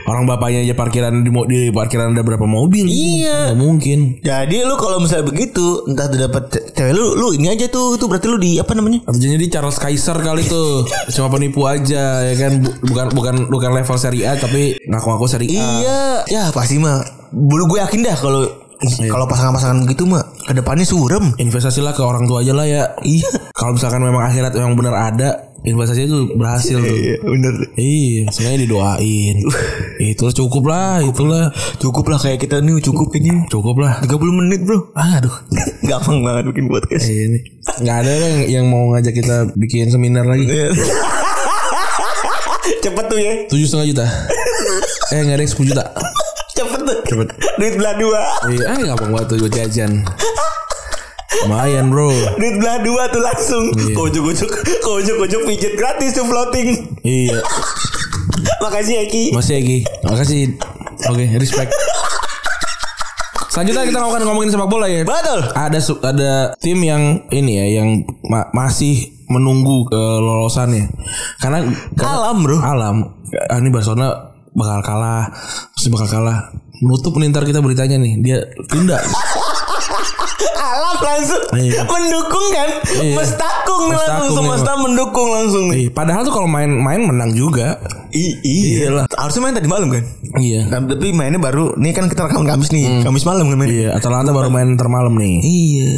C: Orang bapaknya aja parkiran di, mo- di parkiran ada berapa mobil?
B: Iya.
C: Nggak mungkin.
B: Jadi lu kalau misalnya begitu, entah tuh dapat ce- cewek lu, lu ini aja tuh, itu berarti lu di apa namanya?
C: Atau jadi dia Charles Kaiser kali tuh <laughs> cuma penipu aja ya kan Bu- bukan bukan bukan level seri A tapi ngaku-ngaku seri A.
B: Iya. Ya pasti mah. Bulu gue yakin dah kalau
C: Iya.
B: kalau pasangan-pasangan gitu mah kedepannya surem.
C: Investasilah ke orang tua aja lah ya.
B: Iya.
C: Kalau misalkan memang akhirat memang benar ada, investasi itu berhasil tuh.
B: bener.
C: Iya, sebenarnya didoain. <laughs> itu cukup lah, itulah.
B: Cukup lah kayak kita nih cukup kayaknya.
C: Cukup lah.
B: 30 menit bro
C: Aduh.
B: <laughs> Gampang banget bikin podcast
C: Iya, Ini nggak ada yang yang mau ngajak kita bikin seminar lagi.
B: Cepet tuh ya <laughs>
C: Tujuh setengah <laughs> juta. Eh nggak ada yang sepuluh juta.
B: Cepet tuh Duit belah dua
C: Iya, ah gampang banget tuh gue jajan. Lumayan bro.
B: Duit belah dua tuh
C: Iya.
B: langsung Kocok-kocok Kocok-kocok pijet gratis tuh floating
C: Iya.
B: Makasih Eki.
C: Masih lagi. Makasih. Oke, <laughs> respect. Selanjutnya kita akan ngomongin sepak bola ya.
B: Betul.
C: Ada su- ada tim yang ini ya yang ma- masih menunggu kelolosannya. Karena, karena
B: Alam bro.
C: alam ah, ini Barcelona bakal kalah, pasti bakal kalah. Menutup nih ntar kita beritanya nih. Dia
B: <laughs>
C: tunda.
B: Alam langsung
C: Iya.
B: mendukung kan.
C: Iya.
B: Mestakung nih langsung
C: Mestakung, iya.
B: semesta mendukung langsung nih.
C: Eh, padahal tuh kalau main-main menang juga.
B: I- iya lah. Harusnya main tadi malam kan.
C: Iya.
B: Tapi tapi mainnya baru nih kan kita rekaman Kamis nih. Kamis malam kan main.
C: Iya, Atalanta baru main ntar malam nih.
B: Iya.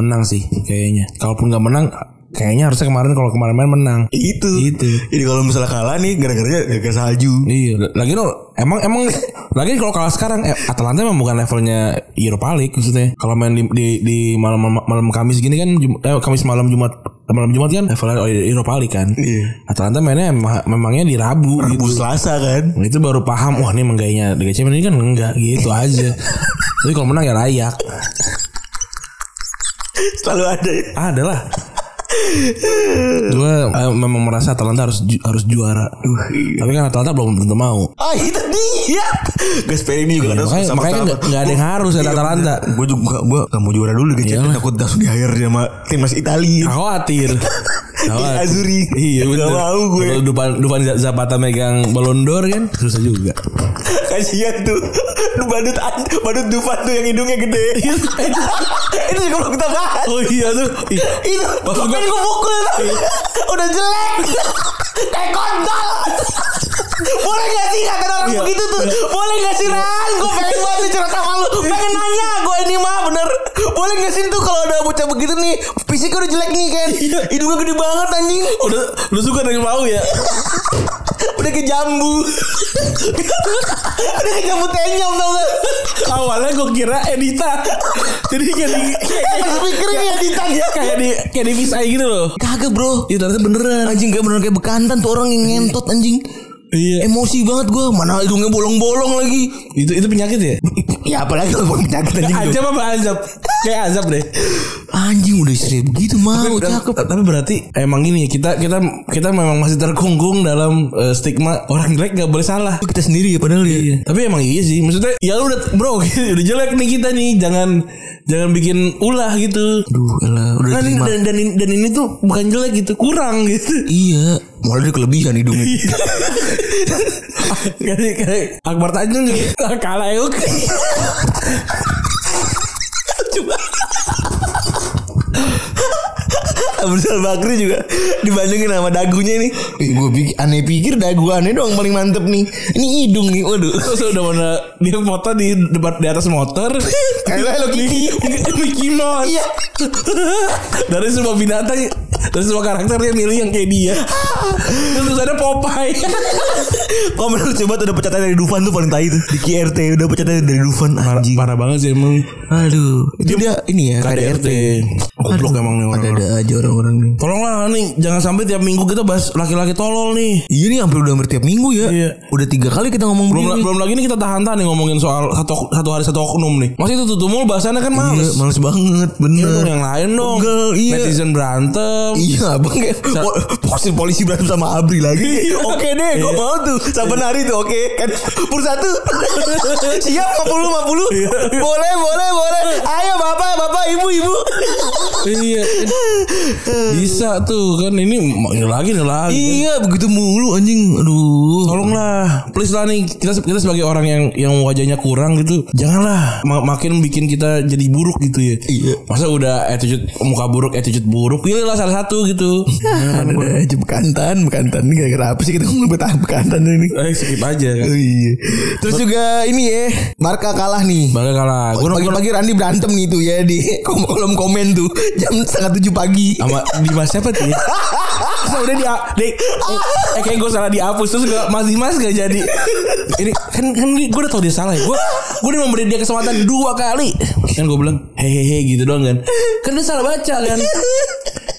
C: menang sih kayaknya. Kalaupun nggak menang, kayaknya harusnya kemarin kalau kemarin main menang.
B: Itu.
C: Itu.
B: Jadi kalau misalnya kalah nih gara-garanya gara-gara ya salju.
C: Gitu. Iya, lagi lo emang emang lagi kalau kalah sekarang eh, Atalanta memang bukan levelnya Europa League maksudnya. Kalau main di di, di malam malam Kamis gini kan Jum- eh, Kamis malam Jumat malam Jumat kan levelnya Europa League kan.
B: Iya.
C: Atalanta mainnya emang- memangnya di Rabu gitu. Nah,
B: Rabu Selasa kan.
C: Itu baru paham wah ini menggayanya Liga Champions ini kan enggak gitu aja. Tapi kalau menang ya layak.
B: Selalu ada ya.
C: Ah, adalah. Gue eh, memang merasa Atalanta harus ju- harus juara.
B: iya.
C: Tapi kan Atalanta belum tentu mau.
B: Ah itu dia. Gasperini juga
C: makanya makanya kan nggak- nggak ada yang harus ada Atalanta.
B: Gue Iya, juga gue gak mau juara dulu gitu.
C: Iyalah.
B: Takut langsung di hire sama timnas Italia.
C: Khawatir.
B: <laughs>
C: Khawatir.
B: Azuri.
C: Iya
B: Nggak
C: bener
B: mau gue.
C: Kalau Dufan, Dufan Zapata megang Ballon d'Or kan Susah juga
B: Kasian tuh Lu badut Badut Dufan tuh yang hidungnya gede <laughs> Itu juga belum kita bahas
C: Iya. Oh iya tuh Iya. Ih,
B: Itu
C: Maksud
B: Pengen
C: gua-
B: gue pukul Udah jelek Kayak kontol Boleh gak sih kata orang
C: Iya. Iya.
B: begitu tuh Boleh gak sih Ran Gue pengen banget nih cerita sama lu Pengen nanya Gue ini mah bener Boleh gak sih tuh kalau ada bocah begitu nih Fisiknya udah jelek nih kan
C: Iya.
B: Hidungnya gede banget
C: <laughs>
B: anjing
C: Oh, Udah Lu suka dengan mau ya
B: Udah kayak jambu Udah kayak jambu tenyom tau gak
C: Awalnya gue kira Edita Jadi kayak di
B: Kayak speakernya ya Ditan ya
C: Kayak di Kayak di Miss Eye gitu loh
B: <laughs> Kagak bro
C: Iya ternyata beneran
B: Anjing gak bener kayak bekantan tuh orang yang ngentot anjing
C: Iya
B: Emosi banget gue Mana hidungnya bolong-bolong lagi
C: Itu itu penyakit ya?
B: Ya apalagi kalau bukan penyakit anjing itu.
C: Ajab apa azab? Kayak azab deh.
B: Anjing udah istri begitu mau
C: Tapi-
B: cakep
C: Tapi berarti emang gini ya, kita kita kita memang masih terkungkung dalam eh, stigma orang jelek nggak boleh salah.
B: Itu Kita sendiri ya padahal ya
C: Tapi emang iya sih. Maksudnya ya lu udah bro <laughs> udah jelek nih kita nih jangan jangan bikin ulah gitu.
B: Aduh elah udah
C: Nah, ini-
B: terima
C: dan, dan, ini- dan ini tuh bukan jelek gitu kurang gitu.
B: Iya Mulai dari kelebihan hidungnya
C: Iya. Kayak kayak Akbar Tanjung
B: <laughs>
C: gitu. kalah
B: ya,
C: yuk.
B: Abdul Bakri juga Dibandingin sama dagunya nih Gue pikir aneh pikir dagu aneh doang paling mantep nih Ini hidung nih waduh
C: Terus udah mana dia foto di depan di atas
B: <laughs>
C: motor.
B: Hello, Hello Kitty.
C: Mickey Mouse.
B: Iya.
C: <laughs> dari semua binatang dari semua karakter dia milih yang kayak dia.
B: <laughs>
C: Terus ada <laughs> Popeye.
B: Kok menurut coba tuh udah pecatannya dari Dufan tuh paling tai tuh Di KRT udah pecatannya dari Dufan anjing
C: Parah banget sih emang.
B: Aduh Itu dia ini ya
C: KDRT.
B: KDRT
C: Goblok emang nih orang.
B: Ada-ada aja orang-orang nih
C: Tolonglah nih jangan sampai tiap minggu kita bahas laki-laki tolol nih.
B: Iya nih hampir udah hampir tiap minggu ya.
C: Iya.
B: Udah tiga kali kita ngomong
C: Belum,
B: begini.
C: belum lagi nih kita tahan-tahan nih ngomongin soal satu, satu hari satu oknum nih. Masih itu tutup mulu bahasannya kan
B: Iya,
C: males.
B: males banget,
C: Iya,
B: bener.
C: dong, yang lain dong.
B: Pegel, iya.
C: Netizen berantem.
B: Iya abang kayak po- polisi polisi berantem sama Abri lagi. <laughs> oke deh, gue
C: Iya.
B: mau tuh. Saban hari tuh, oke kan. Pur <laughs> satu, siap 50
C: Iya.
B: 50 Boleh, boleh, boleh. Ayo bapak, bapak, ibu, ibu.
C: iya bisa tuh kan ini mau- ini lagi ini lagi
B: iya, begitu mulu anjing. Aduh.
C: tolonglah please lah nih kita kita sebagai orang yang yang wajahnya kurang gitu janganlah ma- makin bikin kita jadi buruk gitu ya
B: Iya.
C: masa udah attitude muka buruk attitude buruk pilihlah salah satu
B: <laughs>
C: gitu
B: Ah, Ada ada aja bekantan, bekantan ini gara-gara apa sih kita ngomong betah bekantan ini?
C: eh skip aja kan
B: Oh, iya. Terus juga ini ya, Marka kalah nih.
C: Bangga kalah Gua nonton
B: Pagi-pagi Randi berantem nih tuh ya di <laughs> kom- kolom komen tuh jam setengah tujuh pagi.
C: sama Dimas siapa tuh ya? Terus udah dia dek eh, eh, kayak gue salah dihapus terus gak, Mas Dimas gak jadi ini kan kan gue udah tau dia salah ya gue gue udah memberi dia kesempatan dua kali kan gue bilang hehehe gitu doang kan kan dia salah baca kan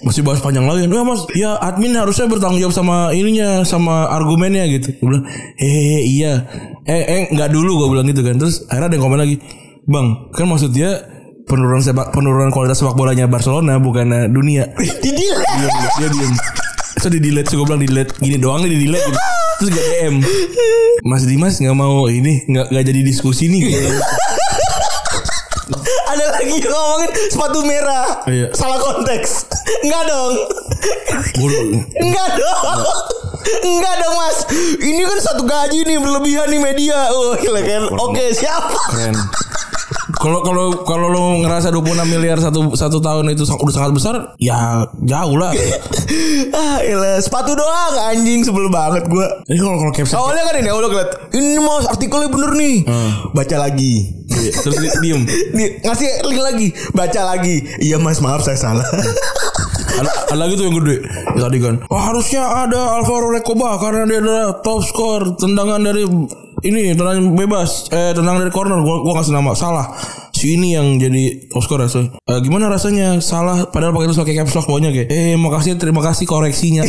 C: masih bahas panjang lagi kan ya mas ya admin harusnya bertanggung jawab sama ininya sama argumennya gitu gue bilang hehehe iya eh eh nggak dulu gue bilang gitu kan terus akhirnya ada yang komen lagi bang kan maksud dia penurunan sepak penurunan kualitas sepak bolanya Barcelona bukan eh, dunia
B: Didil.
C: dia diem dia diem so di delete so gue bilang di delete gini doang nih di delete gitu
D: Terus gak DM. Mas Dimas nggak mau ini nggak nggak jadi diskusi nih.
B: Ada lagi yang ngomongin sepatu merah.
C: Iya.
B: Salah konteks. Enggak dong.
D: Bulu.
B: Enggak dong. Enggak dong mas Ini kan satu gaji nih Berlebihan nih media Oh gila kan Oke siapa
C: Keren. Kalau kalau kalau lo ngerasa 26 miliar satu satu tahun itu sang- udah sangat besar, ya jauh lah.
B: Ah gila Sepatu doang anjing Sebel banget gua
C: Ini kalau kalau caption
B: Awalnya kan ini awalnya ngeliat ini mas artikelnya bener nih.
C: Ah.
B: Baca lagi.
C: terus di- diem.
B: Nih, ngasih link lagi, baca lagi. Iya mas maaf saya salah.
C: Ada, ada lagi tuh yang gede tadi kan. Wah, harusnya ada Alvaro Recoba karena dia adalah top skor tendangan dari ini tendangan bebas eh tendangan dari corner gua gua kasih nama salah si ini yang jadi top scorer so. Eh, gimana rasanya salah padahal pakai terus pakai caps lock bawahnya kayak eh makasih terima kasih koreksinya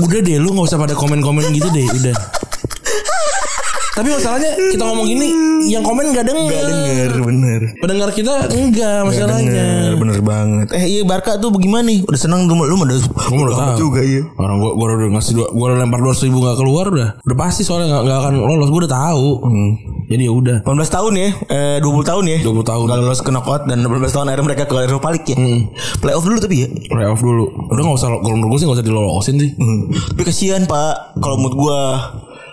C: udah deh lu nggak usah pada komen-komen gitu deh udah tapi masalahnya kita ngomong gini yang komen gak denger,
B: bener bener.
C: pendengar kita enggak masalahnya
B: Bener bener banget. Eh iya Barca tuh bagaimana nih? Udah senang tuh lu udah
C: Gue udah tahu
B: juga iya.
C: Orang gua gua udah ngasih dua, gua udah lempar dua ribu nggak keluar udah. Udah pasti soalnya nggak nggak akan lolos. Gua udah tahu. Jadi ya udah.
B: 18 tahun ya, eh 20 tahun ya.
C: 20 tahun. Hmm.
B: Gak lolos ke knockout dan 18 tahun akhirnya mereka ke Eropa League ya. Playoff dulu tapi ya.
C: Playoff dulu. Udah nggak usah kalau menurut gua sih nggak usah dilolosin sih.
B: Tapi kasihan Pak, kalau mood gua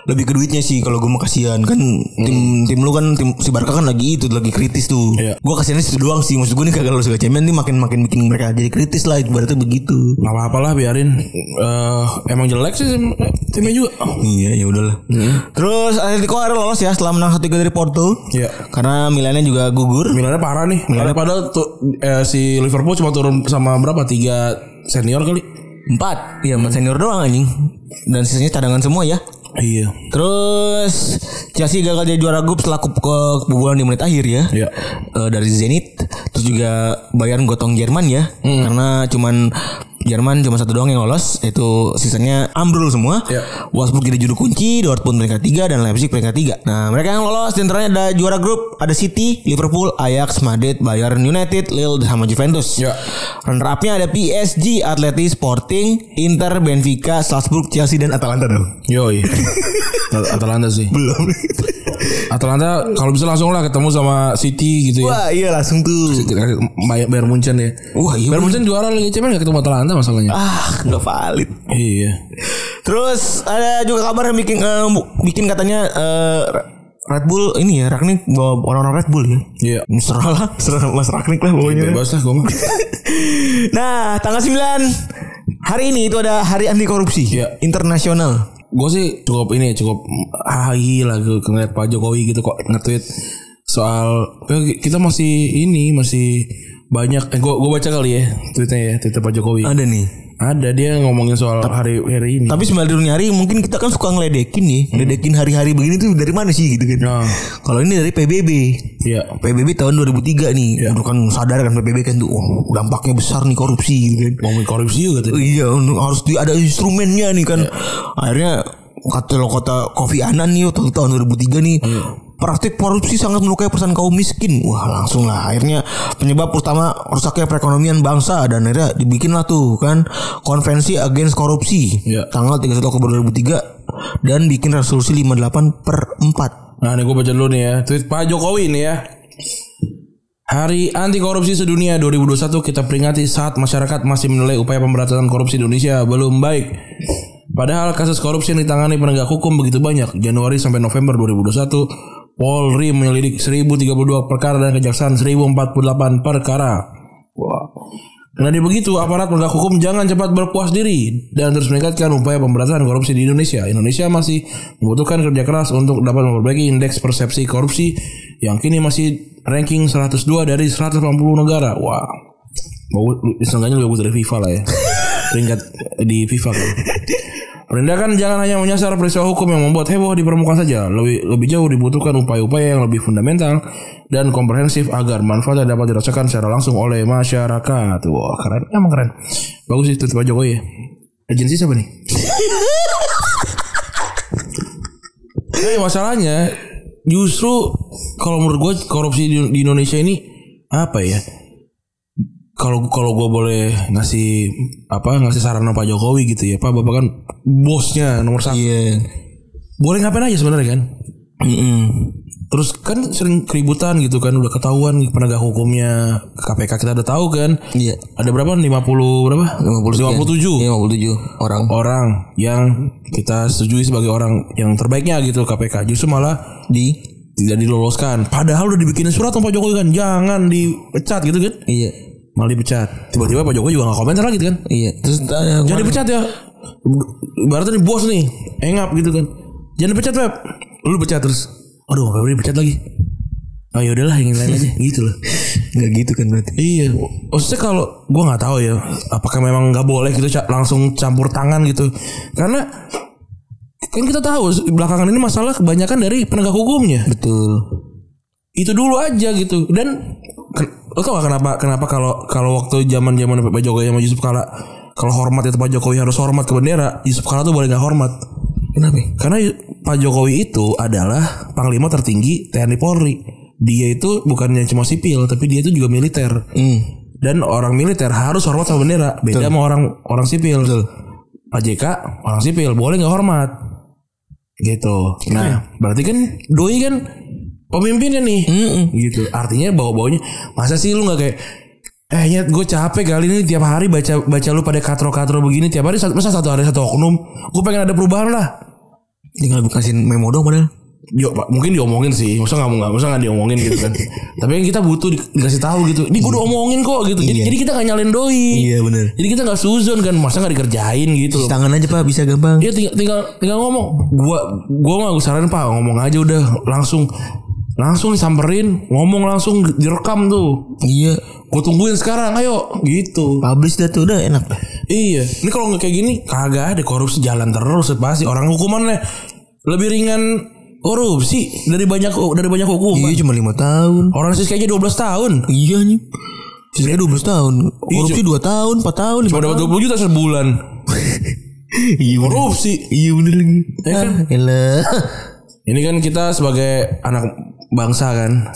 B: lebih ke duitnya sih kalau gue mah kasihan kan tim tim lu kan tim si Barca kan lagi itu lagi kritis tuh.
C: Hmm. Iya.
B: Gua kasihannya situ doang sih maksud gue nih kagak lolos ke Champions nih makin makin bikin mereka jadi kritis lah ibaratnya begitu.
C: Gak apa-apa lah biarin. Eh, emang jelek sih tim- timnya juga.
B: Iya ya udahlah. Terus Atletico akhirnya lolos ya setelah menang 1-3 dari Porto.
C: Hmm. Iya.
B: Karena Milannya juga gugur.
C: Milannya parah nih. Milannya padahal tuh eh, si Liverpool cuma turun sama berapa? Tiga senior kali.
B: Empat. Iya, empat senior doang anjing. Dan sisanya cadangan semua ya.
C: Iya.
B: Terus Chelsea gagal jadi juara grup setelah ke- ke- kebobolan di menit akhir ya.
C: Iya.
B: Eh, dari Zenit terus juga Bayern gotong Jerman ya.
C: Hmm.
B: Karena cuman Jerman cuma satu doang yang lolos itu sisanya ambrul semua.
C: Iya.
B: Wolfsburg jadi juru kunci, Dortmund peringkat 3 dan Leipzig peringkat 3. Nah, mereka yang lolos di antaranya ada juara grup, ada City, Liverpool, Ajax, Madrid, Bayern United, Lille sama Juventus.
C: Iya.
B: Runner up-nya ada PSG, Atleti, Sporting, Inter, Benfica, Salzburg, Chelsea dan Atalanta dong.
C: Yoi. At- Atalanta sih.
B: Belum.
C: Atalanta kalau bisa langsung lah ketemu sama City gitu ya.
B: Wah iya langsung tuh.
C: kan Bayar Bayern Munchen ya.
B: Wah iya.
C: Bayern Munchen juara lagi cuman gak ketemu Atalanta masalahnya.
B: Ah nggak valid.
C: Iya.
B: Terus ada juga kabar yang bikin eh, bu- bikin katanya eh, Red Bull ini ya Ragnik bawa orang-orang Red Bull ya.
C: Iya.
B: Serah lah, serah Mas Ragnik lah pokoknya.
C: Bebas lah gue <laughs> mah.
B: nah tanggal 9 hari ini itu ada Hari Anti Korupsi
C: Iya.
B: Internasional.
C: Gue sih cukup ini cukup ahi lah gue ngeliat Pak Jokowi gitu kok nge-tweet soal eh, kita masih ini masih banyak eh gue gue baca kali ya tweetnya ya tweetnya Pak Jokowi
B: Ada nih.
C: ada dia ngomongin soal hari hari ini
B: Tapi sembilan dini hari mungkin kita kan suka ngeledekin nih, ngeledekin hari-hari begini tuh dari mana sih gitu kan?
C: Nah.
B: Kalau ini dari PBB.
C: Iya
B: PBB tahun 2003 nih. Udah kan sadar kan PBB kan tuh wah, dampaknya besar nih korupsi gitu kan.
C: ngomongin korupsi juga
B: Oh
C: tadi Iya.
B: Iya untuk harus di, ada instrumennya nih kan. Akhirnya kata lo kota Kofi Annan nih waktu tahun 2003 nih
C: Iya.
B: praktik korupsi sangat melukai perasaan kaum miskin. Wah langsung lah akhirnya penyebab utama rusaknya perekonomian bangsa dan akhirnya dibikinlah tuh kan konvensi against korupsi
C: Iya.
B: tanggal 31 Oktober 2003 dan bikin resolusi 58 per 4
C: Nah ini gue baca dulu nih ya Tweet Pak Jokowi nih ya Hari Anti Korupsi Sedunia 2021 kita peringati saat masyarakat masih menilai upaya pemberantasan korupsi Indonesia belum baik. Padahal kasus korupsi yang ditangani penegak hukum begitu banyak. Januari sampai November 2021, Polri menyelidik 1032 perkara dan kejaksaan 1048 perkara. Karena begitu, aparat penegak hukum jangan cepat berpuas diri dan terus meningkatkan upaya pemberantasan korupsi di Indonesia. Indonesia masih membutuhkan kerja keras untuk dapat memperbaiki indeks persepsi korupsi yang kini masih ranking 102 dari 180 negara. Wah, bau seenggaknya lebih bagus dari FIFA lah ya. Peringkat di FIFA kan. Penindakan jangan hanya menyasar peristiwa hukum yang membuat heboh di permukaan saja. Lebih lebih jauh dibutuhkan upaya-upaya yang lebih fundamental dan komprehensif agar manfaatnya dapat dirasakan secara langsung oleh masyarakat. Wah, keren. Emang keren. Bagus sih tweet Pak Jokowi ya. Agensi siapa nih? Tapi Iya, masalahnya justru kalau menurut gue korupsi di, di Indonesia ini apa ya? kalau kalau gue boleh ngasih apa ngasih saran sama Pak Jokowi gitu ya Pak Bapak kan bosnya nomor satu
B: Iya.
C: boleh ngapain aja sebenarnya kan terus kan sering keributan gitu kan udah ketahuan penegak hukumnya KPK kita udah tahu kan
B: Iya.
C: ada berapa 50 berapa
B: 57.
C: 57
B: Iya, 57 orang.
C: orang yang kita setujui sebagai orang yang terbaiknya gitu KPK justru malah
B: Di
C: tidak diloloskan padahal udah dibikinin surat sama Pak Jokowi kan jangan dipecat gitu kan
B: Iya.
C: malah dipecat tiba-tiba Pak Jokowi juga nggak komentar lagi kan
B: Iya. Terus eh,
C: Jangan dipecat ya. Ibaratnya nih bos nih, engap gitu kan. Jangan dipecat, Feb. Lu pecat terus. Aduh, Feb dipecat lagi. Oh ya udahlah yang
B: <laughs>
C: lain aja gitu loh.
B: nggak gitu kan berarti.
C: Iya, maksudnya kalau gua nggak tahu ya, apakah memang nggak boleh gitu ca- langsung campur tangan gitu, karena kan kita tahu belakangan ini masalah kebanyakan dari penegak hukumnya
B: Betul.
C: itu dulu aja gitu dan ken- lo tau gak kenapa kenapa kalau kalau waktu zaman zaman Pak Jokowi sama Yusuf Kala kalau hormat itu Pak Jokowi harus hormat ke bendera Yusuf Kala tuh boleh gak hormat
B: Kenapa? ya?
C: karena Yu- Pak Jokowi itu adalah panglima tertinggi TNI Polri dia itu bukannya cuma sipil tapi dia itu juga militer
B: Hmm.
C: dan orang militer harus hormat sama bendera beda sama orang orang sipil Pak JK orang sipil boleh nggak hormat gitu nah berarti kan doi kan pemimpinnya nih gitu artinya bau baunya masa sih lu nggak kayak eh nyet gue capek kali ini tiap hari baca baca lu pada katro katro begini tiap hari satu- masa satu hari satu oknum gue pengen ada perubahan lah
B: Tinggal kasih memo dong padahal.
C: Yo, mungkin diomongin sih, masa nggak nggak, masa nggak diomongin gitu kan. Tapi kan kita butuh di- dikasih tahu gitu. Ini gue udah omongin kok gitu. Jadi, jadi kita nggak nyalain doi.
B: Iya, bener.
C: Jadi kita nggak suzon kan, masa nggak dikerjain
B: Cuci
C: gitu.
B: tangan aja Pak bisa gampang.
C: Iya tinggal, tinggal tinggal ngomong. Gua gua mah saran Pak ngomong aja udah langsung langsung disamperin, ngomong langsung direkam tuh.
B: Iya.
C: Gue tungguin sekarang, ayo gitu.
B: Publish dah tuh udah enak.
C: Iya, ini kalau nggak kayak gini kagak ada korupsi jalan terus pasti orang hukumannya lebih ringan korupsi dari banyak dari banyak hukuman.
B: Iya cuma 5 tahun.
C: Orang siskanya kayaknya 12 tahun.
B: Iya nih. Sisanya 12 tahun. Korupsi 2 tahun, 4 tahun, 5
C: Cuma dapat 20 juta sebulan.
B: Iya bener.
C: Korupsi.
B: Iya bener lagi.
C: Ya
B: <laughs>
C: kan?
B: Ah, elah.
C: Ini kan kita sebagai anak bangsa kan.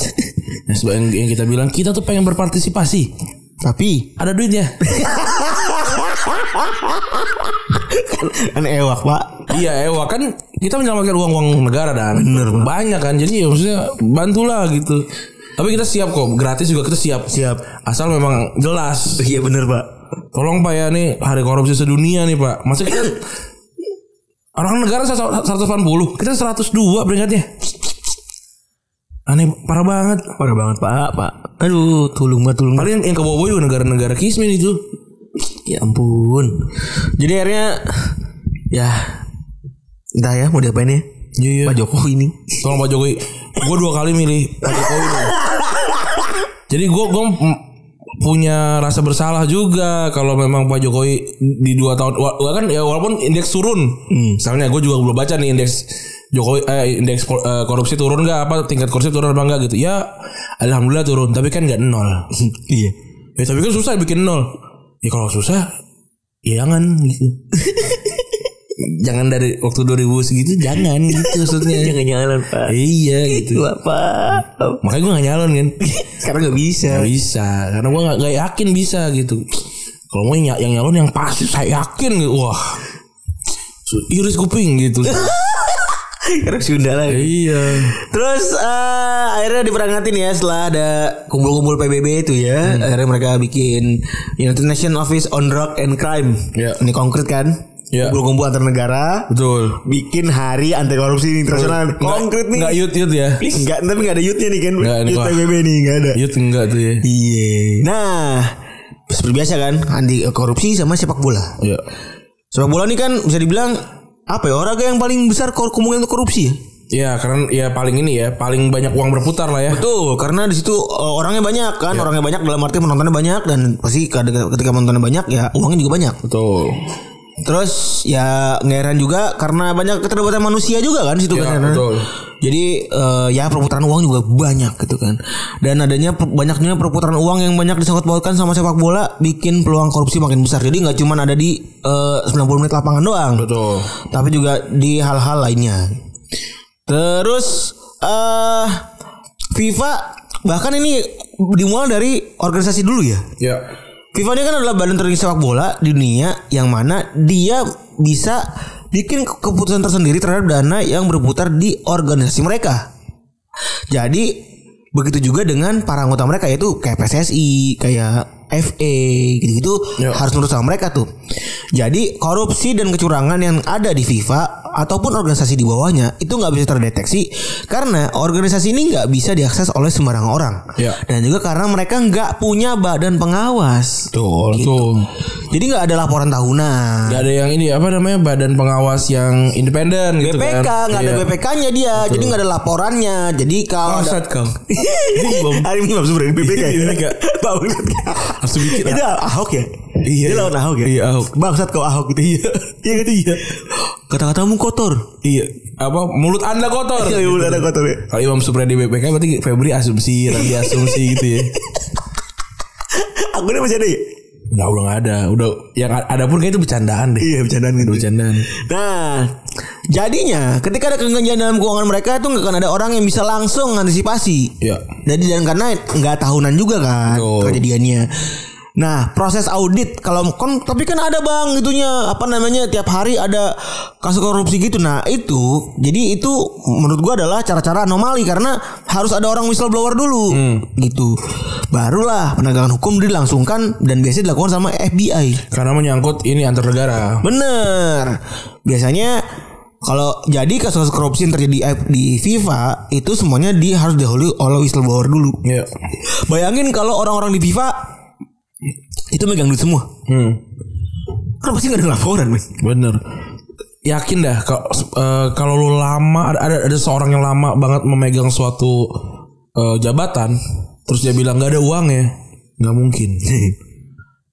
C: Yang seba- yang- yang kita bilang kita tuh pengen berpartisipasi.
B: Tapi
C: Ada duitnya.
B: kan ewak pak.
C: iya, Ewa kan kita menyelamatkan uang-uang negara dan banyak kan. Jadi ya maksudnya bantulah gitu. Tapi kita siap kok, gratis juga kita siap.
B: Siap.
C: Asal memang jelas.
B: Iya bener pak.
C: Tolong Pak ya nih hari korupsi sedunia nih Pak. Masa kita <coughs> orang negara 180, kita 102 peringkatnya. Aneh parah banget.
B: Parah banget pak, pak. Aduh, tulung banget, tulung banget.
C: Paling yang, yang ke bawah juga negara-negara kismin itu.
B: Ya ampun. Jadi akhirnya, ya entah ya mau diapain ya.
C: Iya iya.
B: Pak Jokowi ini.
C: Tolong Pak Jokowi. Gue dua kali milih Pak Jokowi. dong. Jadi gue gue punya rasa bersalah juga kalau memang Pak Jokowi di dua tahun wa- wa- kan ya walaupun indeks turun
B: Hmm.
C: misalnya gue juga belum baca nih indeks Jokowi eh, indeks kor- eh, korupsi turun nggak apa tingkat korupsi turun apa enggak gitu ya alhamdulillah turun tapi kan nggak nol
B: <laughs> iya.
C: ya tapi kan susah bikin nol ya kalau susah ya jangan
B: <laughs>
C: gitu jangan dari waktu 2000 segitu jangan gitu maksudnya
B: <laughs> Jangan nyalon pak.
C: Iya
B: <laughs>
C: gitu.
B: Bapak.
C: Makanya gue gak nyalon kan. <laughs>
B: Sekarang nggak bisa.
C: Gak bisa. Karena gue gak, gak yakin bisa gitu. Kalau mau yang, yang nyalon yang pasti saya yakin. gitu. Wah. So, iris kuping
B: <laughs>
C: gitu.
B: Karena Sunda lagi.
C: iya.
B: Terus eh, akhirnya diperangatin ya setelah ada kumpul-kumpul PBB itu ya.
C: Hmm.
B: Akhirnya mereka bikin United Nations Office on Drug and Crime.
C: Ya.
B: Ini konkret kan?
C: Ya.
B: Kumpul-kumpul antar negara.
C: Betul.
B: Bikin hari anti korupsi internasional. Konkret nih.
C: Gak yut yut ya.
B: Enggak, tapi enggak ada youthnya nih kan.
C: Nggak, ini
B: Youth
C: kok.
B: PBB nih enggak ada.
C: Yut enggak tuh ya.
B: Iya. Nah, seperti biasa kan anti korupsi sama sepak bola.
C: Iya.
B: Sepak bola nih kan bisa dibilang apa ya olahraga yang paling besar kor- kemungkinan untuk korupsi ya?
C: Iya karena ya paling ini ya paling banyak uang berputar lah ya.
B: Betul, karena di situ uh, orangnya banyak kan,
C: Iya.
B: orangnya banyak dalam arti penontonnya banyak dan pasti ketika ketika penontonnya banyak ya uangnya juga banyak.
C: Betul.
B: Terus ya nggak heran juga karena banyak keterlibatan manusia juga kan di situ
C: Ya,
B: kan.
C: betul.
B: Jadi eh, ya perputaran uang juga banyak gitu kan. Dan adanya per- banyaknya perputaran uang yang banyak disangkut pautkan sama sepak bola bikin peluang korupsi makin besar. Jadi nggak cuma ada di eh, 90 menit lapangan doang
C: Betul.
B: tapi juga di hal-hal lainnya. Terus eh FIFA bahkan ini dimulai dari organisasi dulu ya.
C: Ya.
B: FIFA ini kan adalah badan tertinggi sepak bola di dunia yang mana dia bisa bikin ke- keputusan tersendiri terhadap dana yang berputar di organisasi mereka. Jadi begitu juga dengan para anggota mereka yaitu kayak PSSI, kayak FA gitu-gitu
C: Ya.
B: harus nurut sama mereka tuh. Jadi korupsi dan kecurangan yang ada di FIFA ataupun organisasi di bawahnya itu nggak bisa terdeteksi karena organisasi ini nggak bisa diakses oleh sembarang orang.
C: Ya.
B: Dan juga karena mereka nggak punya badan pengawas.
C: Betul.
B: Jadi nggak ada laporan tahunan.
C: Gak Gitu. ada yang ini apa namanya badan pengawas yang independen gitu kan.
B: BPK nggak ada
C: Iya. Oh,
B: BPK-nya dia, jadi nggak ada laporannya. Jadi kalau ada-
C: Bangsat
B: <laughs>
C: kau.
B: Hari ini harus berani BPK ya?
C: Iya, Kak.
B: Bangsat.
C: Harus bikin.
B: Itu Ahok ya?
C: Iya,
B: Dia
C: iya.
B: lawan Ahok ya?
C: Iya, Ahok.
B: Bangsat kau Ahok gitu. Iya. Iya gitu iya. Kata-katamu kotor.
C: Iya. Apa mulut Anda kotor.
B: Iya, mulut Anda kotor, ya. Iya.
C: Kalau Imam Supriyadi BPK berarti Febri asumsi, lagi asumsi gitu ya.
B: Aku ini masih ada ya?
C: Nah, udah gak ada. Udah yang a- ada pun kayak itu bercandaan deh.
B: Iya bercandaan gitu.
C: Bercandaan.
B: Nah, jadinya ketika ada keganjilan dalam keuangan mereka itu nggak akan ada orang yang bisa langsung antisipasi.
C: Iya.
B: Jadi dan karena nggak tahunan juga kan
C: Betul.
B: kejadiannya. Nah, proses audit kalau kon tapi kan ada Bang itunya apa namanya tiap hari ada kasus korupsi gitu. Nah, itu jadi itu menurut gua adalah cara-cara anomali karena harus ada orang whistleblower dulu gitu. Barulah penegakan hukum dilangsungkan dan biasanya dilakukan sama FBI.
C: Karena menyangkut ini antar negara.
B: Bener. Biasanya kalau jadi kasus korupsi yang terjadi di FIFA itu semuanya di harus dahulu oleh whistleblower dulu.
C: Iya.
B: Bayangin kalau orang-orang di FIFA itu megang duit semua.
C: Hmm.
B: Kan pasti gak ada laporan, men.
C: Bener. Yakin dah kalau eh, kalau lu lama ada, ada ada seorang yang lama banget memegang suatu eh, jabatan terus dia bilang nggak ada uang ya nggak
B: <laughs>
C: mungkin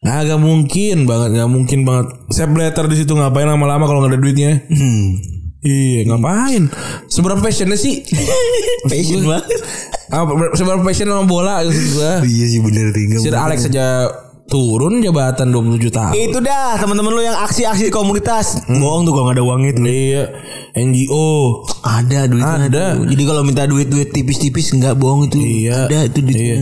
C: Nah, gak mungkin banget, gak mungkin banget. Sepp Blatter di situ ngapain lama-lama kalau nggak ada duitnya?
B: Hmm.
C: Iya, ngapain? Seberapa passionnya sih?
B: <laughs> Passion banget.
C: Apa, seberapa passion sama bola gitu gua.
B: Iya sih bener tinggal.
C: Sir Alex saja turun jabatan 27
B: ah,
C: tahun.
B: Itu dah teman-teman lu yang aksi-aksi komunitas.
C: Hmm,
B: Bohong tuh kalau gak ada uangnya tuh.
C: Iya, NGO.
B: Ada duitnya.
C: Ada.
B: tuh. Jadi kalau minta duit-duit tipis-tipis nggak bohong itu.
C: Iya.
B: Ada itu
C: Iya.
B: duitnya.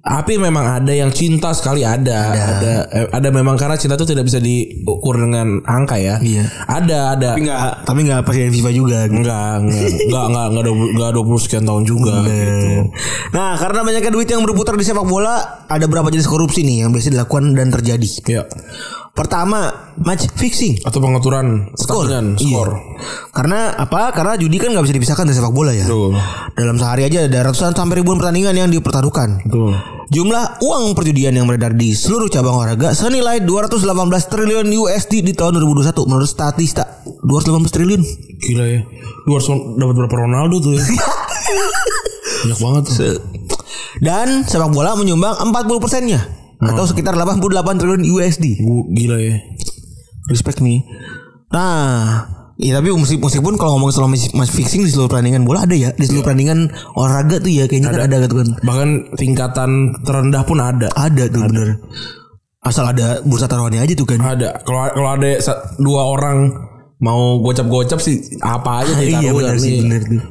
C: Tapi memang ada yang cinta sekali ada, ada, ada, eh, ada memang karena cinta itu tidak bisa diukur dengan angka ya.
B: Iya.
C: Ada, ada.
B: Tapi nggak tapi nggak presiden FIFA juga. gitu.
C: Enggak, enggak, enggak, enggak, enggak, 20 enggak 20 sekian tahun juga.
B: Iya.
C: gitu.
B: Nah, karena banyaknya duit yang berputar di sepak bola, ada berapa jenis korupsi nih yang biasa dilakukan dan terjadi?
C: Iya.
B: Pertama, match fixing.
C: Atau pengaturan
B: Skor.
C: pertandingan,
B: Iya.
C: skor.
B: Karena apa? Karena judi kan nggak bisa dipisahkan dari sepak bola ya.
C: Betul.
B: Dalam sehari aja ada ratusan sampai ribuan pertandingan yang dipertaruhkan.
C: Betul.
B: Jumlah uang perjudian yang beredar di seluruh cabang olahraga senilai 218 triliun USD di tahun 2021 menurut Statista. 218 triliun.
C: Gila ya. Lu harus dapat berapa Ronaldo tuh
B: <laughs>
C: ya? Banyak banget tuh.
B: Dan sepak bola menyumbang 40 persennya
C: Hmm.
B: atau sekitar 88 triliun USD.
C: Gua- Gila ya.
B: respect nih. Nah, ya tapi musik musik pun kalau ngomong soal match, match fixing di seluruh pertandingan bola ada ya, di
C: Iya.
B: seluruh pertandingan olahraga tuh ya kayaknya kan ada gitu kan.
C: Bahkan tingkatan terendah pun ada.
B: Ada tuh bener. Asal ada bursa taruhannya aja tuh kan.
C: Ada. Kalau kalau ada sa- dua orang mau gocap-gocap sih apa aja ditaruh
B: iya bener sih bener tuh.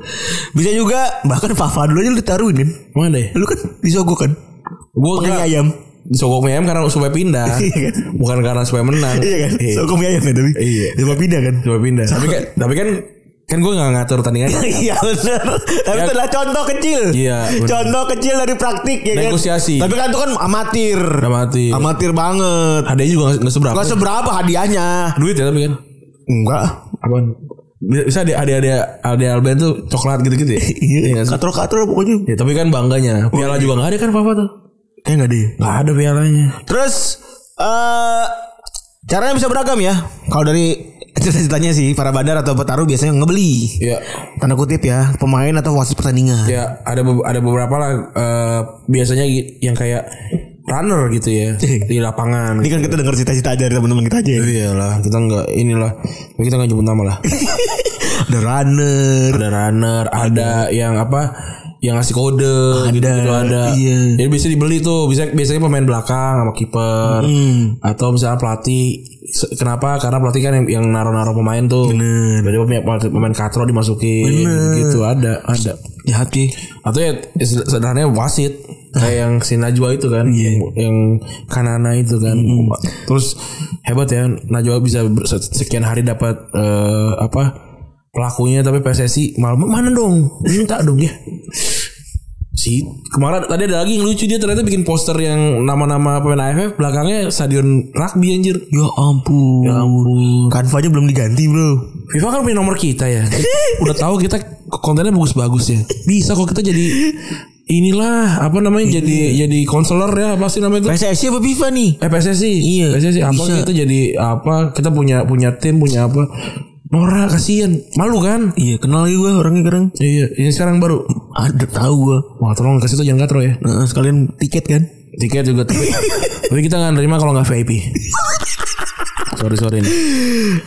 B: Bisa juga bahkan Fafa dulu aja lu ditaruhin kan.
C: Mana deh?
B: Lu kan disogok kan.
C: Gua
B: Pakai mie
C: enggak
B: ayam.
C: disogok mie ayam karena supaya pindah.
B: <laughs> Iya kan?
C: Bukan karena supaya menang.
B: Iya kan? Sogok mie ayam kan tapi.
C: Iya.
B: Cuma pindah
C: <laughs>
B: kan.
C: Supaya pindah. Tapi kan tapi kan kan gue nggak ngatur tandingannya.
B: Iya bener Tapi
C: Ya.
B: itu adalah contoh kecil
C: Iya, bener.
B: Contoh kecil dari praktik ya kan?
C: Negosiasi.
B: Tapi kan itu kan amatir
C: Amatir.
B: Amatir banget
C: Adanya juga nggak- nggak seberapa.
B: Gak seberapa hadiahnya
C: duit ya tapi kan.
B: Enggak
C: Apaan? Bisa ada ada ada ada Alben tuh coklat gitu-gitu ya.
B: Iya
C: nggak sih?
B: Katro-katro pokoknya Oh, iya.
C: Ya, tapi kan bangganya. Piala juga nggak ada kan Papa tuh.
B: Kayaknya gak deh
C: Nggak ada pialanya.
B: Terus eh Caranya bisa beragam ya Kalau dari Cerita-ceritanya sih Para bandar atau petarung biasanya ngebeli
C: Ya.
B: Tanda kutip ya Pemain atau wasit pertandingan
C: Ya, ada be- ada beberapa lah eh, biasanya gi- yang kayak runner gitu ya di lapangan.
B: Ini kan kita denger cerita-cerita aja dari teman-teman kita aja ya.
C: Iyalah, Iya kita nggak inilah. Kita <laughs> nggak nyebut nama lah.
B: Ada runner
C: Ada runner, ada yang apa? yang ngasih kode gitu, ada.
B: iya.
C: Jadi biasanya dibeli tuh, biasanya biasanya pemain belakang sama kiper
B: Hmm.
C: atau misalnya pelatih Se- kenapa? Karena pelatih kan yang, yang naruh-naruh pemain tuh. Bener. Jadi pemain, pemain katro dimasukin gitu ada, ada.
B: jahat sih
C: Atau ya sederhananya wasit kayak yang si Najwa itu kan yang Kanana itu kan terus hebat ya Najwa bisa ber- sekian hari dapat eh, apa pelakunya tapi PSSI malam mana dong minta dong ya si kemarin tadi ada lagi yang lucu dia ternyata bikin poster yang nama-nama pemain AFF belakangnya stadion rugby anjir
B: ya ampun ya ampun kanvanya belum diganti bro
C: FIFA kan punya nomor kita ya. Udah tahu kita kontennya bagus-bagus ya. Bisa kok kita jadi inilah apa
B: Iya.
C: namanya jadi jadi konselor ya apa sih namanya itu?
B: PSSI apa FIFA nih
C: Eh PSSI.
B: Iya,
C: PSSI apa
B: bisa.
C: kita jadi apa kita punya punya tim punya apa? Nora kasihan malu kan?
B: iya kenal lagi gue orangnya kadang
C: Iya, ini sekarang baru.
B: ada tahu gue
C: Wah tolong kasih tuh jangan katro ya.
B: nah, sekalian tiket kan
C: Tiket juga tapi, tapi kita nggak nerima kalau nggak VIP. sorry sorry nih.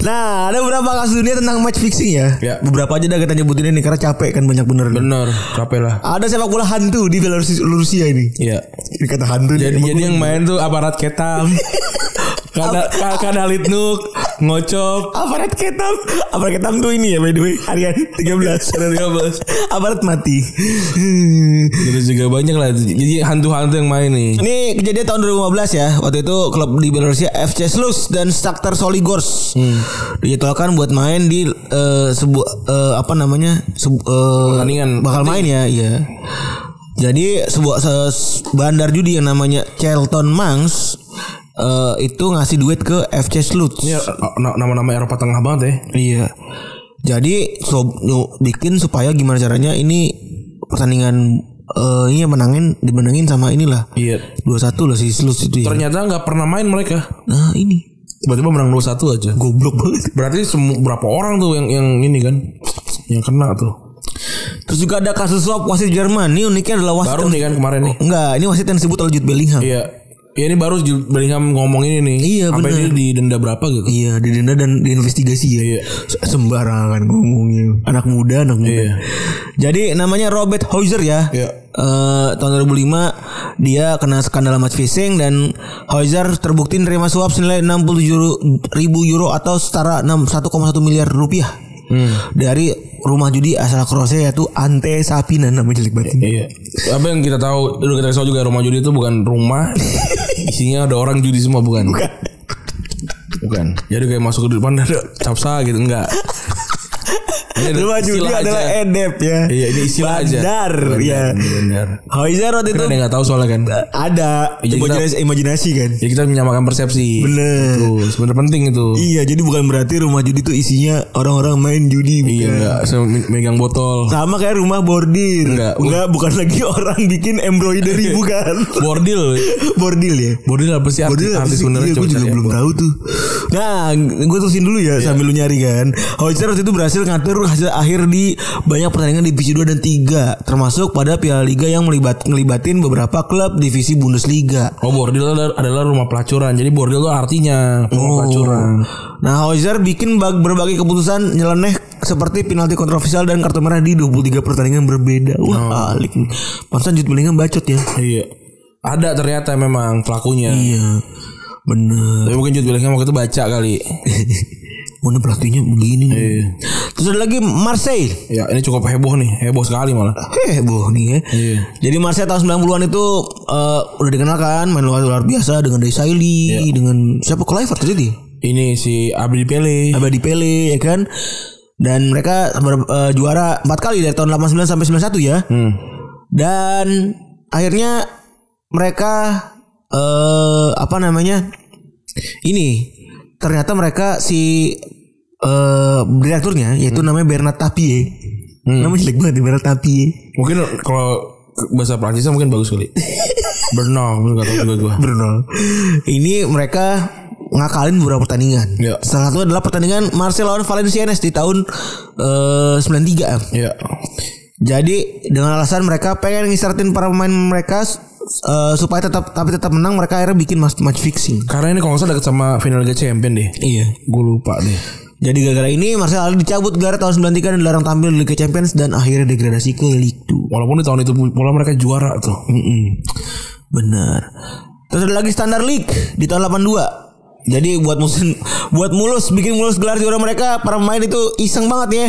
B: Nah ada beberapa kasus dunia tentang match fixing ya,
C: Ya.
B: Beberapa aja dah kita nyebutin ini Karena capek kan banyak bener
C: Bener, capek lah.
B: Ada sepak bola hantu di Belarus Rusia ini
C: Iya.
B: Ini kata hantu
C: Jadi
B: nih,
C: jadi yang main tuh aparat ketam. Kada kada litnuk ngocop
B: Aparat ketam Aparat ketam tuh ini ya by the way Harian 13
C: Ada 13.
B: Aparat mati Hmm.
C: Itu Gitu juga banyak lah. Jadi hantu-hantu yang main nih.
B: Ini kejadian tahun 2015 ya Waktu itu klub di Belarusia FC Slus dan Shakhtar Soligors Dijadwalkan buat main di eh, sebuah eh, Apa namanya sebu- eh,
C: Pertandingan.
B: Bakal main ya iya Jadi sebuah se- bandar judi yang namanya Charlton Mangs eh, Itu ngasih duit ke FC Slus
C: Ini na- nama-nama Eropa Tengah banget ya.
B: Iya. Jadi so, yo- bikin supaya gimana caranya ini pertandingan eh ini menangin dimenangin sama inilah.
C: Iya.
B: 21 lah si Slus itu ya.
C: Ternyata nggak pernah main mereka.
B: Nah, ini
C: Tiba-tiba menang 2-1 aja.
B: goblok banget.
C: Berarti semu- berapa orang tuh yang yang ini kan yang kena tuh.
B: Terus juga ada kasus suap wasit Jerman. Ini uniknya adalah wasit
C: Baru
B: yang-
C: nih kan kemarin nih.
B: enggak, ini wasit yang disebut oleh Jude Bellingham.
C: Iya. Ya ini baru Ju- Bellingham ngomong ini nih.
B: Iya,
C: Sampai
B: bener.
C: dia didenda berapa gitu.
B: Iya, didenda dan diinvestigasi ya.
C: Iya.
B: Se- Sembarangan ngomongnya. Anak muda, anak muda.
C: Iya.
B: Jadi namanya Robert Hauser ya.
C: Iya.
B: Eh, tahun 2005 dia kena skandal match fixing dan Hauser terbukti nerima suap senilai 67 ribu euro atau setara 6 1,1 miliar rupiah.
C: Hmm.
B: Dari rumah judi asal Kroasia yaitu Ante Sapina namanya jelek banget.
C: Iya. Apa yang kita tahu, udah kita tahu juga rumah judi itu bukan rumah.
B: <laughs>
C: isinya ada orang judi semua bukan. Bukan. Jadi kayak masuk ke depan ada capsa gitu enggak. Ini ada
B: Rumah judi
C: Iya, istilah
B: adalah
C: aja.
B: edep ya.
C: Iya, ini istilah aja.
B: Bandar, ya.
C: Bandar, bandar.
B: Hauser waktu
C: Kan
B: itu
C: ada yang nggak tahu soalnya kan.
B: ada
C: Jadi kita-
B: imajinasi, imajinasi kan.
C: Ya kita menyamakan persepsi.
B: Bener.
C: Itu sebenarnya penting itu.
B: Iya, jadi bukan berarti rumah judi itu isinya orang-orang main judi.
C: Oh. Iya
B: bukan.
C: enggak Saya me- megang botol.
B: Sama kayak rumah bordir.
C: Enggak. Iya.
B: bukan lagi <laughs> orang bikin embroidery bukan.
C: Bordil.
B: Bordil ya.
C: Bordil apa sih arti,
B: Bordil apa
C: arti
B: sih?
C: sebenarnya?
B: Iya, gue
C: Coba
B: juga
C: cari Iya. ya.
B: belum tahu tuh. Nah, gue terusin dulu ya sambil lu nyari kan. Hotspur waktu itu berhasil ngatur hasil akhir di banyak pertandingan divisi 2 dan 3, termasuk pada Piala Liga yang melibat ngelibatin beberapa klub divisi Bundesliga.
C: Oh bordil adalah, adalah rumah pelacuran. Jadi bordil itu artinya rumah
B: Oh.
C: pelacuran.
B: Nah, Hauser bikin bag- berbagai keputusan nyeleneh seperti penalti kontroversial dan kartu merah di 23 pertandingan berbeda. Wah, alik. Pantesan Jude Bellingham bacot ya.
C: Iya. Ada ternyata memang pelakunya.
B: Iya. Bener.
C: Tapi mungkin Jude Bellingham waktu itu baca
B: <laughs>
C: kali.
B: Mana pelatihnya begini. Terus ada lagi Marseille.
C: ya, ini cukup heboh nih. Heboh sekali malah.
B: heboh nih ya.
C: Iya.
B: Jadi Marseille tahun 90-an itu eh, udah dikenal kan main luar luar biasa dengan Desailly, dengan siapa Kluivert itu dia.
C: Ini si Abdi Pele.
B: Abadi Pele ya kan. Dan mereka ber- eh, juara 4 kali dari tahun 89 sampai 91 ya. Dan akhirnya mereka eh apa namanya? Ini ternyata mereka si eh direkturnya yaitu namanya Bernard Tapie. Namanya jelek banget ya, Bernard Tapie.
C: Mungkin kalau ke- bahasa Prancisnya mungkin bagus
B: <laughs>
C: kali. Bernal, enggak tahu juga gua.
B: Bruno. Ini mereka ngakalin beberapa pertandingan.
C: Iya.
B: Salah satu adalah pertandingan Marcel lawan Valenciennes di tahun eh, 93.
C: Iya.
B: Jadi dengan alasan mereka pengen ngisartin para pemain mereka eh, supaya tetap tapi tetap menang mereka akhirnya bikin match, match fixing.
C: Karena ini kalau nggak salah deket sama final Liga Champion deh.
B: Iya.
C: Gue lupa deh.
B: Jadi gara-gara ini Marcel Ali dicabut gelar tahun 93 dan dilarang tampil di Liga Champions dan akhirnya degradasi ke Ligue 2.
C: Walaupun di tahun itu pula mereka juara tuh.
B: Mm-mm. Bener. Terus ada lagi standar league di tahun 82. Jadi buat musim <laughs> buat mulus bikin mulus gelar juara mereka para pemain itu iseng banget ya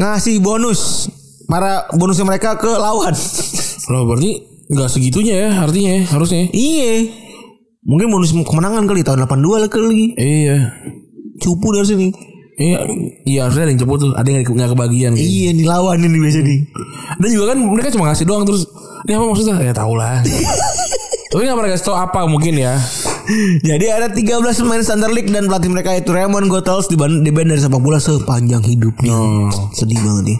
B: ngasih bonus para bonusnya mereka ke lawan. <laughs>
C: Loh berarti nggak segitunya ya artinya ya, harusnya.
B: iya. Mungkin bonus kemenangan kali tahun 82 lah kali.
C: Iya.
B: Cupu dari sini.
C: Iya, iya harusnya ada yang cepet tuh, ada yang nggak kebagian. gitu.
B: Iya nih lawan ini biasa nih. <laughs>
C: Dan juga kan mereka cuma ngasih doang terus Ini apa maksudnya? Ya tau <laughs> lah Tapi gak pernah kasih tau apa mungkin ya
B: Jadi ada 13 pemain standar league dan pelatih mereka itu Raymond Gothels diban- di band dari sepak bola sepanjang hidupnya. Sedih banget nih.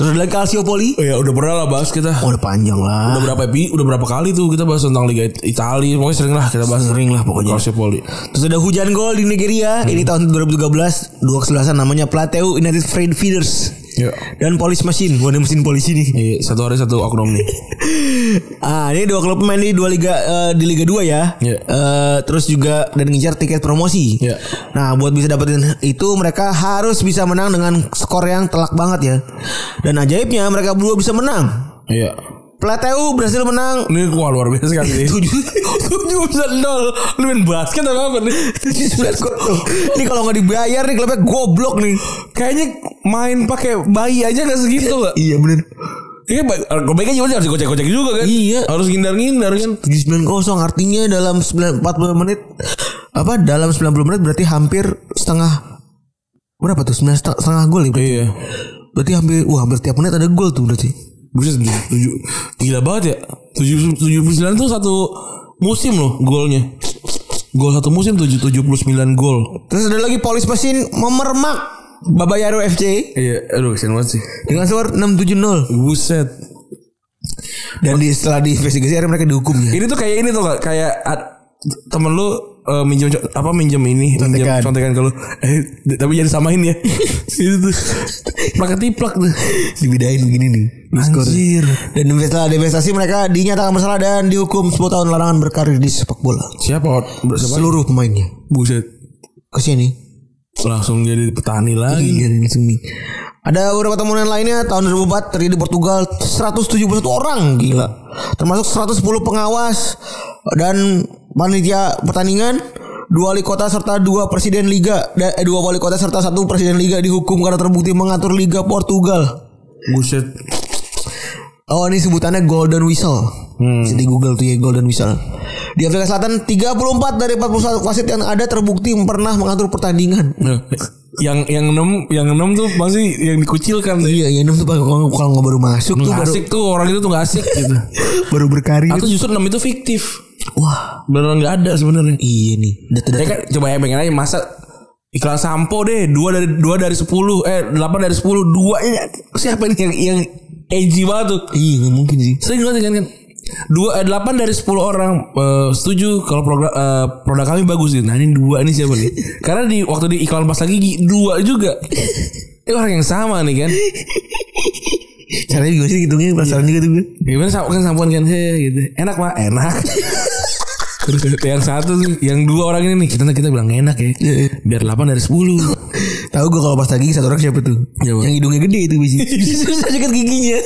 B: Terus ada lagi Calciopoli.
C: Oh ya udah pernah lah bahas kita
B: Oh, udah panjang lah.
C: Udah berapa epi, udah berapa kali tuh kita bahas tentang Liga It- Italia Pokoknya sering lah kita bahas
B: Sering lah pokoknya.
C: Calciopoli
B: Terus ada hujan gol di Nigeria. Ini tahun 2013 dua kesebelasan namanya Plateu United Freight Feeders.
C: Ya.
B: Dan Police Machine, wadah mesin polisi nih.
C: Iya, satu hari satu oknum nih
B: Ah, ini dua klub main di dua liga eh, di Liga 2 ya.
C: Iya.
B: Eh, terus juga dan ngejar tiket promosi.
C: Iya.
B: Nah, buat bisa dapetin itu mereka harus bisa menang dengan skor yang telak banget ya. Dan ajaibnya mereka berdua bisa menang.
C: <laughs> Iya
B: Plateu berhasil menang <laughs>
C: Ini wah luar biasa kan sih
B: 7
C: Tujuh bisa nol Lu main basket apa apa nih
B: 79 gol. Ini kalau nggak dibayar nih klubnya goblok nih.
C: <laughs> Kayaknya main pakai bayi aja gak segitu gak
B: Iya bener
C: Iya ba- kebaikan juga harus gocek-gocek juga kan
B: Iya.
C: Harus ngindar-ngindar kan
B: 79-0 artinya dalam 9, 40 menit apa dalam 90 menit berarti hampir setengah berapa tuh 9 setengah, setengah gol ya berarti.
C: Iya
B: berarti hampir wah hampir tiap menit ada gol tuh berarti
C: Buset tujuh, Gila banget ya tujuh, 79 tuh satu musim loh golnya Gol satu musim tujuh, 79 gol
B: terus ada lagi polis mesin memermak Babayaro FC
C: Iya aduh kesian banget sih
B: dengan skor 670
C: Buset
B: dan di, setelah diinvestigasi akhirnya mereka dihukum ya
C: Ini tuh kayak ini tuh Kak. Kayak ad- temen lu eh, minjem co- apa minjem ini minjem
B: Contekan.
C: contekan ke lu eh, d- tapi jangan samain ya <laughs> itu tuh pakai tiplak tuh
B: dibedain begini nih skor.
C: Anjir.
B: dan setelah divestasi mereka dinyatakan bersalah dan dihukum 10 tahun larangan berkarir di sepak bola
C: siapa Ot? siapa
B: seluruh pemainnya
C: buset
B: kasihan nih
C: langsung jadi petani lagi
B: Iya langsung nih. Ada beberapa temuan lainnya tahun 2004 terdiri di Portugal 171 orang gila. Termasuk 110 pengawas dan panitia pertandingan, dua wali kota serta dua presiden liga dan eh, dua wali kota serta satu presiden liga dihukum karena terbukti mengatur liga Portugal.
C: buset
B: Oh ini sebutannya Golden Whistle
C: Hmm.
B: Bisa di Google tuh ya Golden Whistle Di Afrika Selatan 34 dari 41 wasit yang ada terbukti pernah mengatur pertandingan
C: Nah, yang yang enam yang enam tuh pasti yang dikucilkan tuh.
B: Iya ya enam tuh kalau kalau nggak baru masuk tuh
C: Nggak
B: baru,
C: asik tuh orang itu tuh nggak asik gitu.
B: <laughs> baru berkarir
C: Atau justru enam itu fiktif.
B: Wah
C: Beneran nggak ada sebenarnya.
B: iya nih data-data
C: Ya kan coba ya pengen aja masa iklan sampo deh dua dari dua dari sepuluh eh delapan dari sepuluh dua ini siapa nih yang yang edgy banget tuh
B: Iya nggak mungkin sih
C: sering banget kan kan dua eh, delapan dari sepuluh orang eh, setuju kalau program eh, produk kami bagus gitu nah ini dua ini siapa
B: <laughs>
C: nih karena di waktu di iklan pas gigi dua juga Eh orang yang sama nih kan
B: Caranya gimana sih hitungnya Penasaran juga tuh gue
C: Gimana sam kan sampoan kan he, gitu. Enak mah enak. <laughs> Terus yang satu tuh, yang dua orang ini nih kita kita bilang enak ya.
B: iya.
C: Biar 8 dari 10.
B: Tahu gue kalau pas lagi satu orang siapa tuh
C: Siapa?
B: Yang hidungnya gede itu <laughs> biji Iya, Susah sakit giginya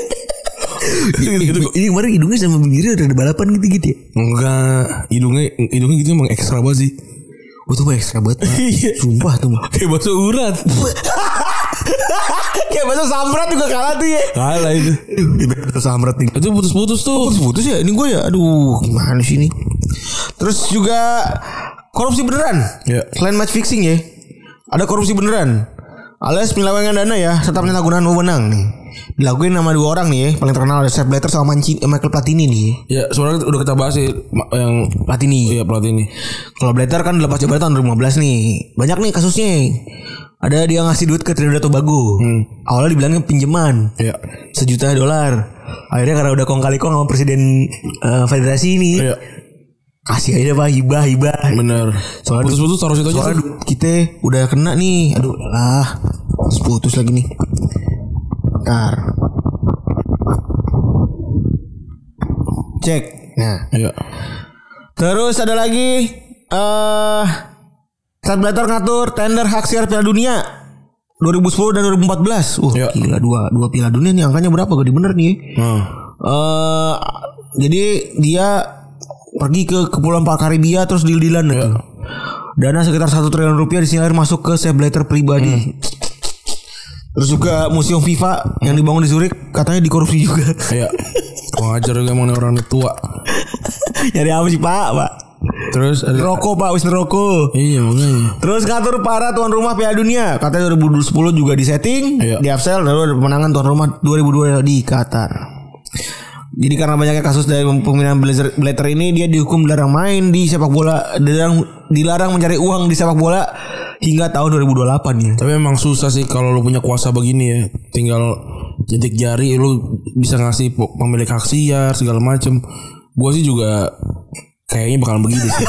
B: gitu, Ini kemarin hidungnya sama bibirnya udah ada balapan gitu-gitu ya
C: Enggak, hidungnya hidungnya gitu emang ekstra banget sih.
B: Gue tuh mah ekstra banget Pak. Sumpah tuh <laughs> mah
C: Kayak bakso urat.
B: Kayak bahasa Ya, samrat juga kalah tuh ya
C: Kalah itu.
B: Bahasa Iya, samrat nih
C: Itu putus-putus tuh.
B: Putus ya ini gue ya Aduh gimana sih ini Terus juga Korupsi beneran
C: Ya.
B: Selain match fixing ya Ada korupsi beneran Alias penyelewengan dana ya Serta penyalahgunaan wewenang nih Dilakuin sama dua orang nih ya Paling terkenal ada Sepp Blatter sama Manci- eh, Michael Platini nih ya.
C: Ya, sebenarnya udah kita bahas sih ma- yang
B: Platini
C: iya pelatih ini.
B: Kalau Blatter kan lepas jabatan tahun 2015 nih Banyak nih kasusnya Ada dia ngasih duit ke Trinidad Tobago
C: Hmm.
B: Awalnya dibilangnya pinjaman
C: Iya.
B: Sejuta dolar Akhirnya karena udah kong kali kong sama presiden eh, federasi ini
C: Iya,
B: Kasih aja pak hibah hibah
C: bener.
B: Soalnya-
C: putus-putus taruh situ aja.
B: Soalnya
C: sih.
B: du- kita udah kena nih. Aduh lah. Terus putus lagi nih. Bentar. Cek. Nah.
C: Iya.
B: Terus ada lagi eh Stabilisator ngatur tender hak siar Piala Dunia 2010 dan 2014. Wah,
C: Iya.
B: gila dua dua Piala Dunia nih angkanya berapa gede bener nih.
C: Hmm.
B: Eh, jadi dia pergi ke Kepulauan Pak Karibia terus deal-dealan itu. Dana sekitar 1 triliun rupiah disinyalir masuk ke safe letter pribadi. Terus juga museum FIFA yang dibangun di Zurich katanya dikorupsi juga. <laughs>
C: Iya. Kurang ajar juga emang nih orang nih tua.
B: Nyari apa sih Pak? Pak.
C: Terus ada
B: Rokok Pak, wis rokok.
C: Iya makanya.
B: Terus ngatur para tuan rumah Piala Dunia. Katanya 2010 juga disetting
C: Iya.
B: di Afsel lalu ada pemenangan tuan rumah 2002 di Qatar. Jadi karena banyaknya kasus dari pembinaan blazer, blatter ini dia dihukum dilarang main di sepak bola, dilarang dilarang mencari uang di sepak bola hingga tahun 2028 ya.
C: Tapi emang susah sih kalau lu punya kuasa begini ya. Tinggal jentik jari lu bisa ngasih pe- pemilik hak siar segala macem. Gua sih juga kayaknya bakalan begitu <laughs> sih.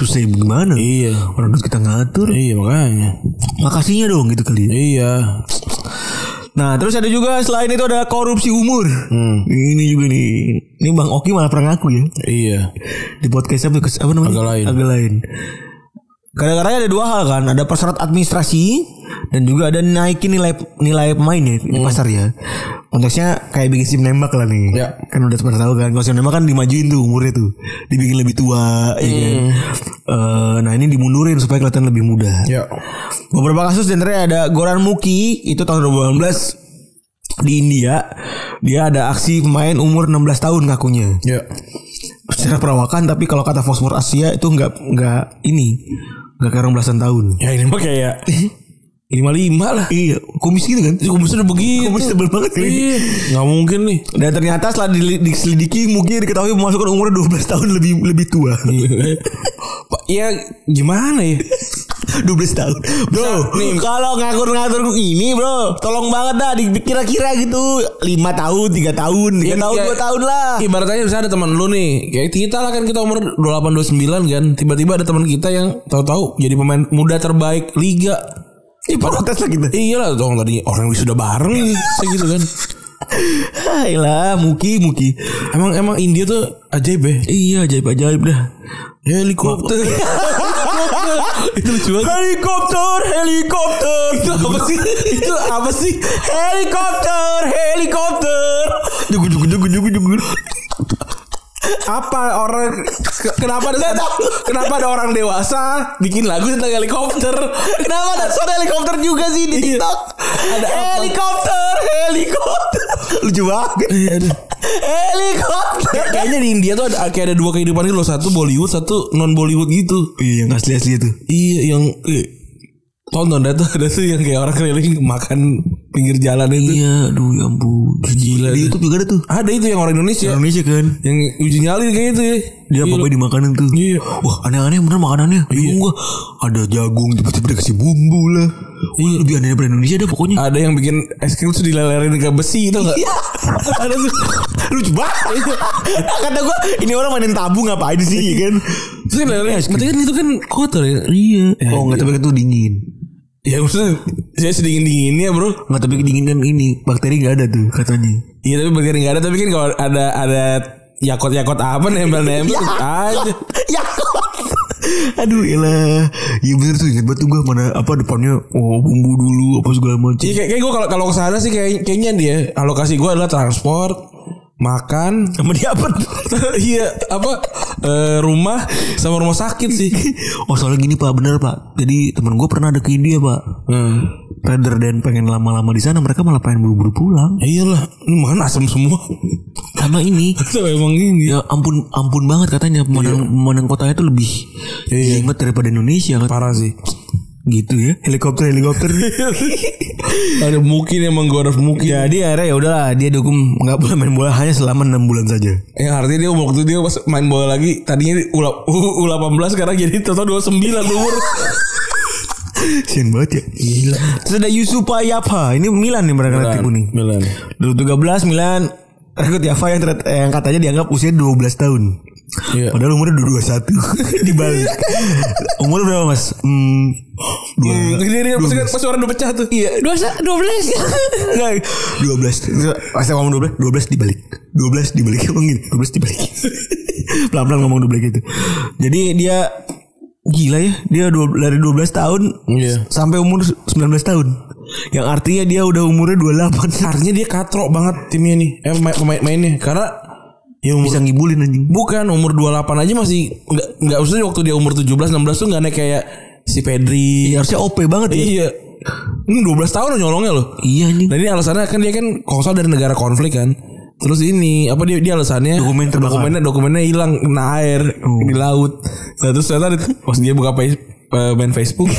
B: Susah ya gimana?
C: iya.
B: Orang duit kita ngatur.
C: Iya makanya.
B: Makasihnya dong gitu kali. ya.
C: Iya.
B: Nah terus ada juga selain itu ada korupsi umur.
C: Hmm.
B: Ini juga nih. Ini Bang Oki malah pernah ngaku ya.
C: Iya.
B: di podcast apa, apa namanya?
C: Agak lain.
B: Agak lain. Kadang-kadang ada dua hal kan, ada persyarat administrasi dan juga ada naikin nilai nilai pemain ya di
C: Hmm.
B: pasar ya. Konteksnya kayak bikin sim nembak lah nih.
C: Ya.
B: Kan udah pernah tahu kan, kalau sim nembak kan dimajuin tuh umurnya tuh, dibikin lebih tua. ya kan?
C: Hmm.
B: Eh, nah ini dimundurin supaya kelihatan lebih muda.
C: Iya.
B: Beberapa kasus dan ada Goran Muki itu tahun 2018 di India dia ada aksi pemain umur 16 tahun ngakunya
C: Iya.
B: secara perawakan tapi kalau kata Fosfor Asia itu nggak nggak ini nggak kayak orang belasan tahun
C: Ya ini mah kayak <laughs> lima lima lah.
B: iya kumis gitu kan
C: Kumisnya udah begitu.
B: kumis tebel banget kan
C: Iya. Gak mungkin nih.
B: dan ternyata setelah dili- diselidiki mungkin diketahui memasukkan umur 12 tahun lebih lebih tua
C: Iya.
B: <laughs>
C: Pak, ya gimana ya?
B: 12 tahun bro
C: Nih.
B: kalau ngatur-ngatur ini bro tolong banget dah dikira-kira gitu 5 tahun 3 tahun 3
C: Iya,
B: tahun
C: iya.
B: 2 tahun lah
C: Ibaratnya misalnya ada teman lu nih, kayak kita lah kan kita umur 28 29 kan, tiba-tiba ada teman kita yang tahu-tahu jadi pemain muda terbaik liga.
B: Ih, protes lah <laughs> kita
C: Iya lah dong tadi orang yang sudah bareng segitu kan.
B: Ayolah Muki Muki
C: Emang emang India tuh ajaib ya.
B: Iya ajaib-ajaib dah
C: Ya helikopter. itu lucu banget.
B: Helikopter, helikopter. Itu apa sih? Itu apa sih? Helikopter, helikopter. Dugu dugu dugu dugu dugu.
C: Apa orang ke- kenapa ada kenapa ada orang dewasa bikin lagu tentang helikopter? Iya.
B: Kenapa ada suara helikopter juga sih di TikTok?
C: Ada apa?
B: helikopter, helikopter. Lucu banget. Helikopter.
C: Kayaknya di India tuh ada kayak ada dua kehidupan gitu loh, satu Bollywood, satu non Bollywood gitu.
B: Iya, yang asli-asli itu.
C: Iya yang eh, tonton ada tuh <laughs> ada tuh yang kayak orang keliling makan pinggir jalan itu.
B: Iya, aduh ya ampun.
C: Gila.
B: Di YouTube juga ada tuh.
C: Ada itu yang orang Indonesia
B: Indonesia kan.
C: yang uji nyali kayak itu ya.
B: Dia
C: Iya.
B: apa-apa dimakanin tuh.
C: Iya.
B: Wah aneh-aneh bener makanannya Bingung gua Ada jagung tiba-tiba dikasih bumbu lah Wah, Lebih aneh daripada Indonesia dah pokoknya
C: Ada yang bikin es krim tuh dilelerin ke besi itu enggak? Iya. ada tuh.
B: Lucu <laughs> banget Kata gua Ini orang mainin tabu ngapain sih ya kan
C: Terus kan dilelerin es krim. Berarti kan itu kan kotor ya.
B: Iya Oh nggak tapi itu dingin
C: Ya maksudnya saya sedingin dinginnya bro.
B: Nggak tapi dingin kan ini Bakteri nggak ada tuh katanya <laughs>
C: Iya tapi bagian nggak ada tapi kan kalau ada ada yakot yakot apa nempel nempel aja.
B: Ya Aduh elah Iya bener tuh ingat banget tuh gua Mana apa depannya Oh bumbu dulu Apa segala macam
C: Iya kayak, kayak gue kalau kalau kesana sih kayak, kayaknya dia alokasi gue adalah transport, makan,
B: Sama dia apa
C: <laughs> iya apa eh, rumah sama rumah sakit sih
B: Oh soalnya gini pak Bener pak Jadi temen gua pernah ada ke India pak
C: hmm.
B: Rather dan pengen lama-lama di sana mereka malah pengen buru-buru pulang.
C: ya iyalah ini makan asam semua
B: Karena ini
C: Tuh emang ini
B: ya ampun ampun banget katanya pemandangan pemandangan kotanya itu lebih
C: Iya.
B: nikmat daripada Indonesia kan.
C: parah sih
B: Gitu ya. Helikopter helikopter.
C: <laughs> ada mungkin emang gue harus mungkin
B: <laughs> Jadi akhirnya ya udahlah dia dukung nggak boleh main bola hanya selama enam bulan saja.
C: ya artinya dia waktu dia pas main bola lagi tadinya dia u, u, u 18 sekarang jadi total 29 <laughs> umur
B: Sian banget ya. Gila. Terus ada Yusufa Yapa. Ini Milan nih mereka nanti kuning.
C: Milan
B: 2013 Milan rekrut Yapa yang, teret- yang katanya dianggap usia 12 tahun.
C: Iya.
B: Padahal umurnya udah
C: <laughs>
B: 21 Dibalik Umur berapa mas? Hmm, dua,
C: Hmm, dia dia pasti kan pasti orang udah pecah tuh iya Nah,
B: 12 12
C: <laughs>
B: Enggak 12 Pas saya ngomong 12 12 dibalik 12 dibalik Emang gini 12 dibalik <laughs> Pelan-pelan ngomong 12 gitu Jadi dia Gila ya Dia dua, dari 12 tahun
C: Iya.
B: Sampai umur 19 tahun Yang artinya dia udah umurnya 28
C: Artinya dia katrok banget timnya nih. Eh pemain pemainnya karena ya umur
B: Bisa ngibulin anjing
C: bukan umur 28 aja masih nggak nggak usah waktu dia umur 17 16 tuh nggak naik kayak si Pedri.
B: Iya harusnya OP banget ya
C: Iya. Ini 12 tahun loh nyolongnya loh.
B: Iya anjing
C: Nah ini alasannya kan dia kan kosong dari negara konflik kan. Terus ini apa dia dia alasannya
B: Dokumen terbakar.
C: dokumennya dokumennya hilang kena air di laut. Nah, terus ternyata di- pas dia buka face, eh, main Facebook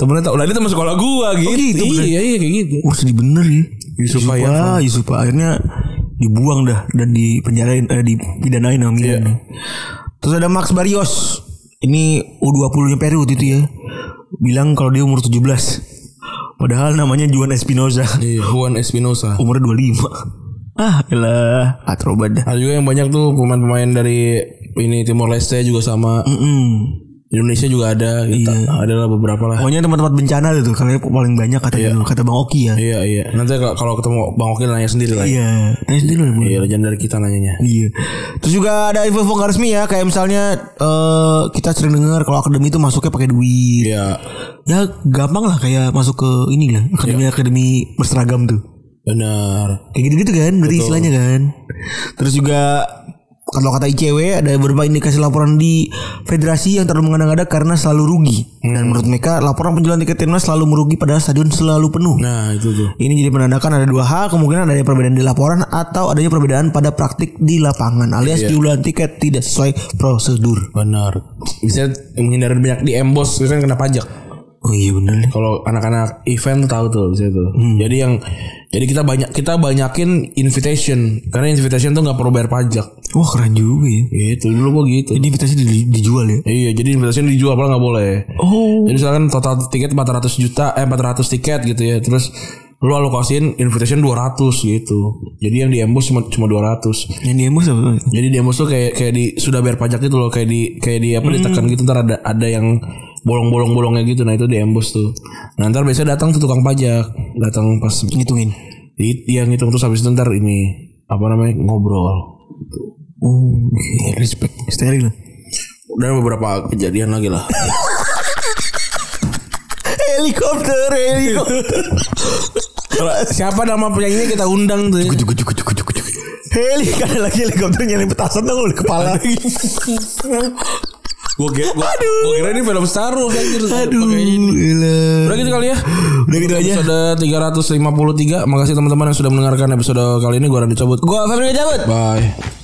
C: temennya tahu lah dia teman sekolah gua gitu.
B: gitu, bener.
C: iya iya kayak gitu.
B: Wah sedih bener ya
C: Yusuf
B: Yusufa
C: Ayat.
B: Yusufa akhirnya dibuang dah Dan dipenjarain eh, Dipidanain sama
C: Iya.
B: Milan Terus ada Max Barrios Ini U20 nya Peru waktu itu ya Bilang kalau dia umur 17 Padahal namanya Juan Espinoza
C: Iya, Juan Espinosa.
B: <laughs> Umurnya 25 Ah elah Atrobat dah
C: Ada Nah, juga yang banyak tuh pemain-pemain dari ini Timor Leste juga sama
B: Mm. Mm-mm.
C: Indonesia juga ada gitu. Ada lah beberapa lah.
B: Pokoknya tempat-tempat bencana itu Kalian paling banyak kata gitu, Kata Bang Oki ya
C: Iya iya. Nanti kalau kalau ketemu Bang Okil nanya sendiri lah. Iya,
B: Iya Tanya sendiri lah, Bu.
C: legend dari kita nanyanya.
B: Iya. Terus juga ada info-info nggak resmi ya, kayak misalnya eh kita sering dengar kalau akademi itu masuknya pakai duit.
C: Iya.
B: Ya gampang lah kayak masuk ke ini lah, akademi-akademi berseragam tuh.
C: Benar.
B: Kayak gitu-gitu kan, berarti istilahnya kan. Terus juga kalau kata ICW ada beberapa indikasi laporan di federasi yang terlalu mengada-ngada karena selalu rugi. Dan menurut mereka laporan penjualan tiket timnas selalu merugi padahal stadion selalu penuh.
C: Nah itu tuh.
B: Ini jadi menandakan ada dua hal kemungkinan adanya perbedaan di laporan atau adanya perbedaan pada praktik di lapangan alias jualan tiket tidak sesuai prosedur.
C: Benar. Bisa menghindari banyak di embos kan kena pajak.
B: Oh iya bener.
C: Kalau anak-anak event tuh tahu tuh bisa tuh. Jadi yang jadi kita banyak kita banyakin invitation karena invitation tuh nggak perlu bayar pajak.
B: Wah keren juga ya.
C: Gitu dulu gua gitu.
B: Ini invitasi di- dijual ya.
C: Iya, jadi invitation dijual padahal nggak boleh.
B: Oh.
C: Jadi misalkan total tiket 400 juta eh 400 tiket gitu ya. Terus lu alokasiin invitation 200 gitu. Jadi yang di embos cuma cuma 200.
B: Yang demo siapa?
C: Jadi demo tuh kayak kayak di sudah bayar pajak gitu loh kayak di kayak di apa ditekan gitu ntar ada ada yang bolong-bolong-bolongnya gitu nah itu di embos tuh. Nah ntar biasanya datang tuh tukang pajak datang pas
B: Ngitungin.
C: di, yang ngitung terus habis itu ntar ini apa namanya ngobrol
B: Oh, iya, respect. Steril.
C: dan beberapa kejadian lagi <laughs> lah.
B: Helikopter, helikopter.
C: Kalau Siapa nama penyanyinya kita undang tuh? Ya?
B: Cukup, cukup, cukup, cukup, cukup. Heli ada lagi helikopter nyalain petasan dong oleh kepala.
C: Gue kira, gua, gua kira ini film Star Wars kan, gitu. anjir.
B: Aduh,
C: Pakai ini.
B: gila.
C: Udah gitu kali ya.
B: Udah gitu aja.
C: Episode 353. Makasih teman-teman yang sudah mendengarkan episode kali ini. Gue Randy Cabut.
B: Gua Febri Jabut.
C: Bye.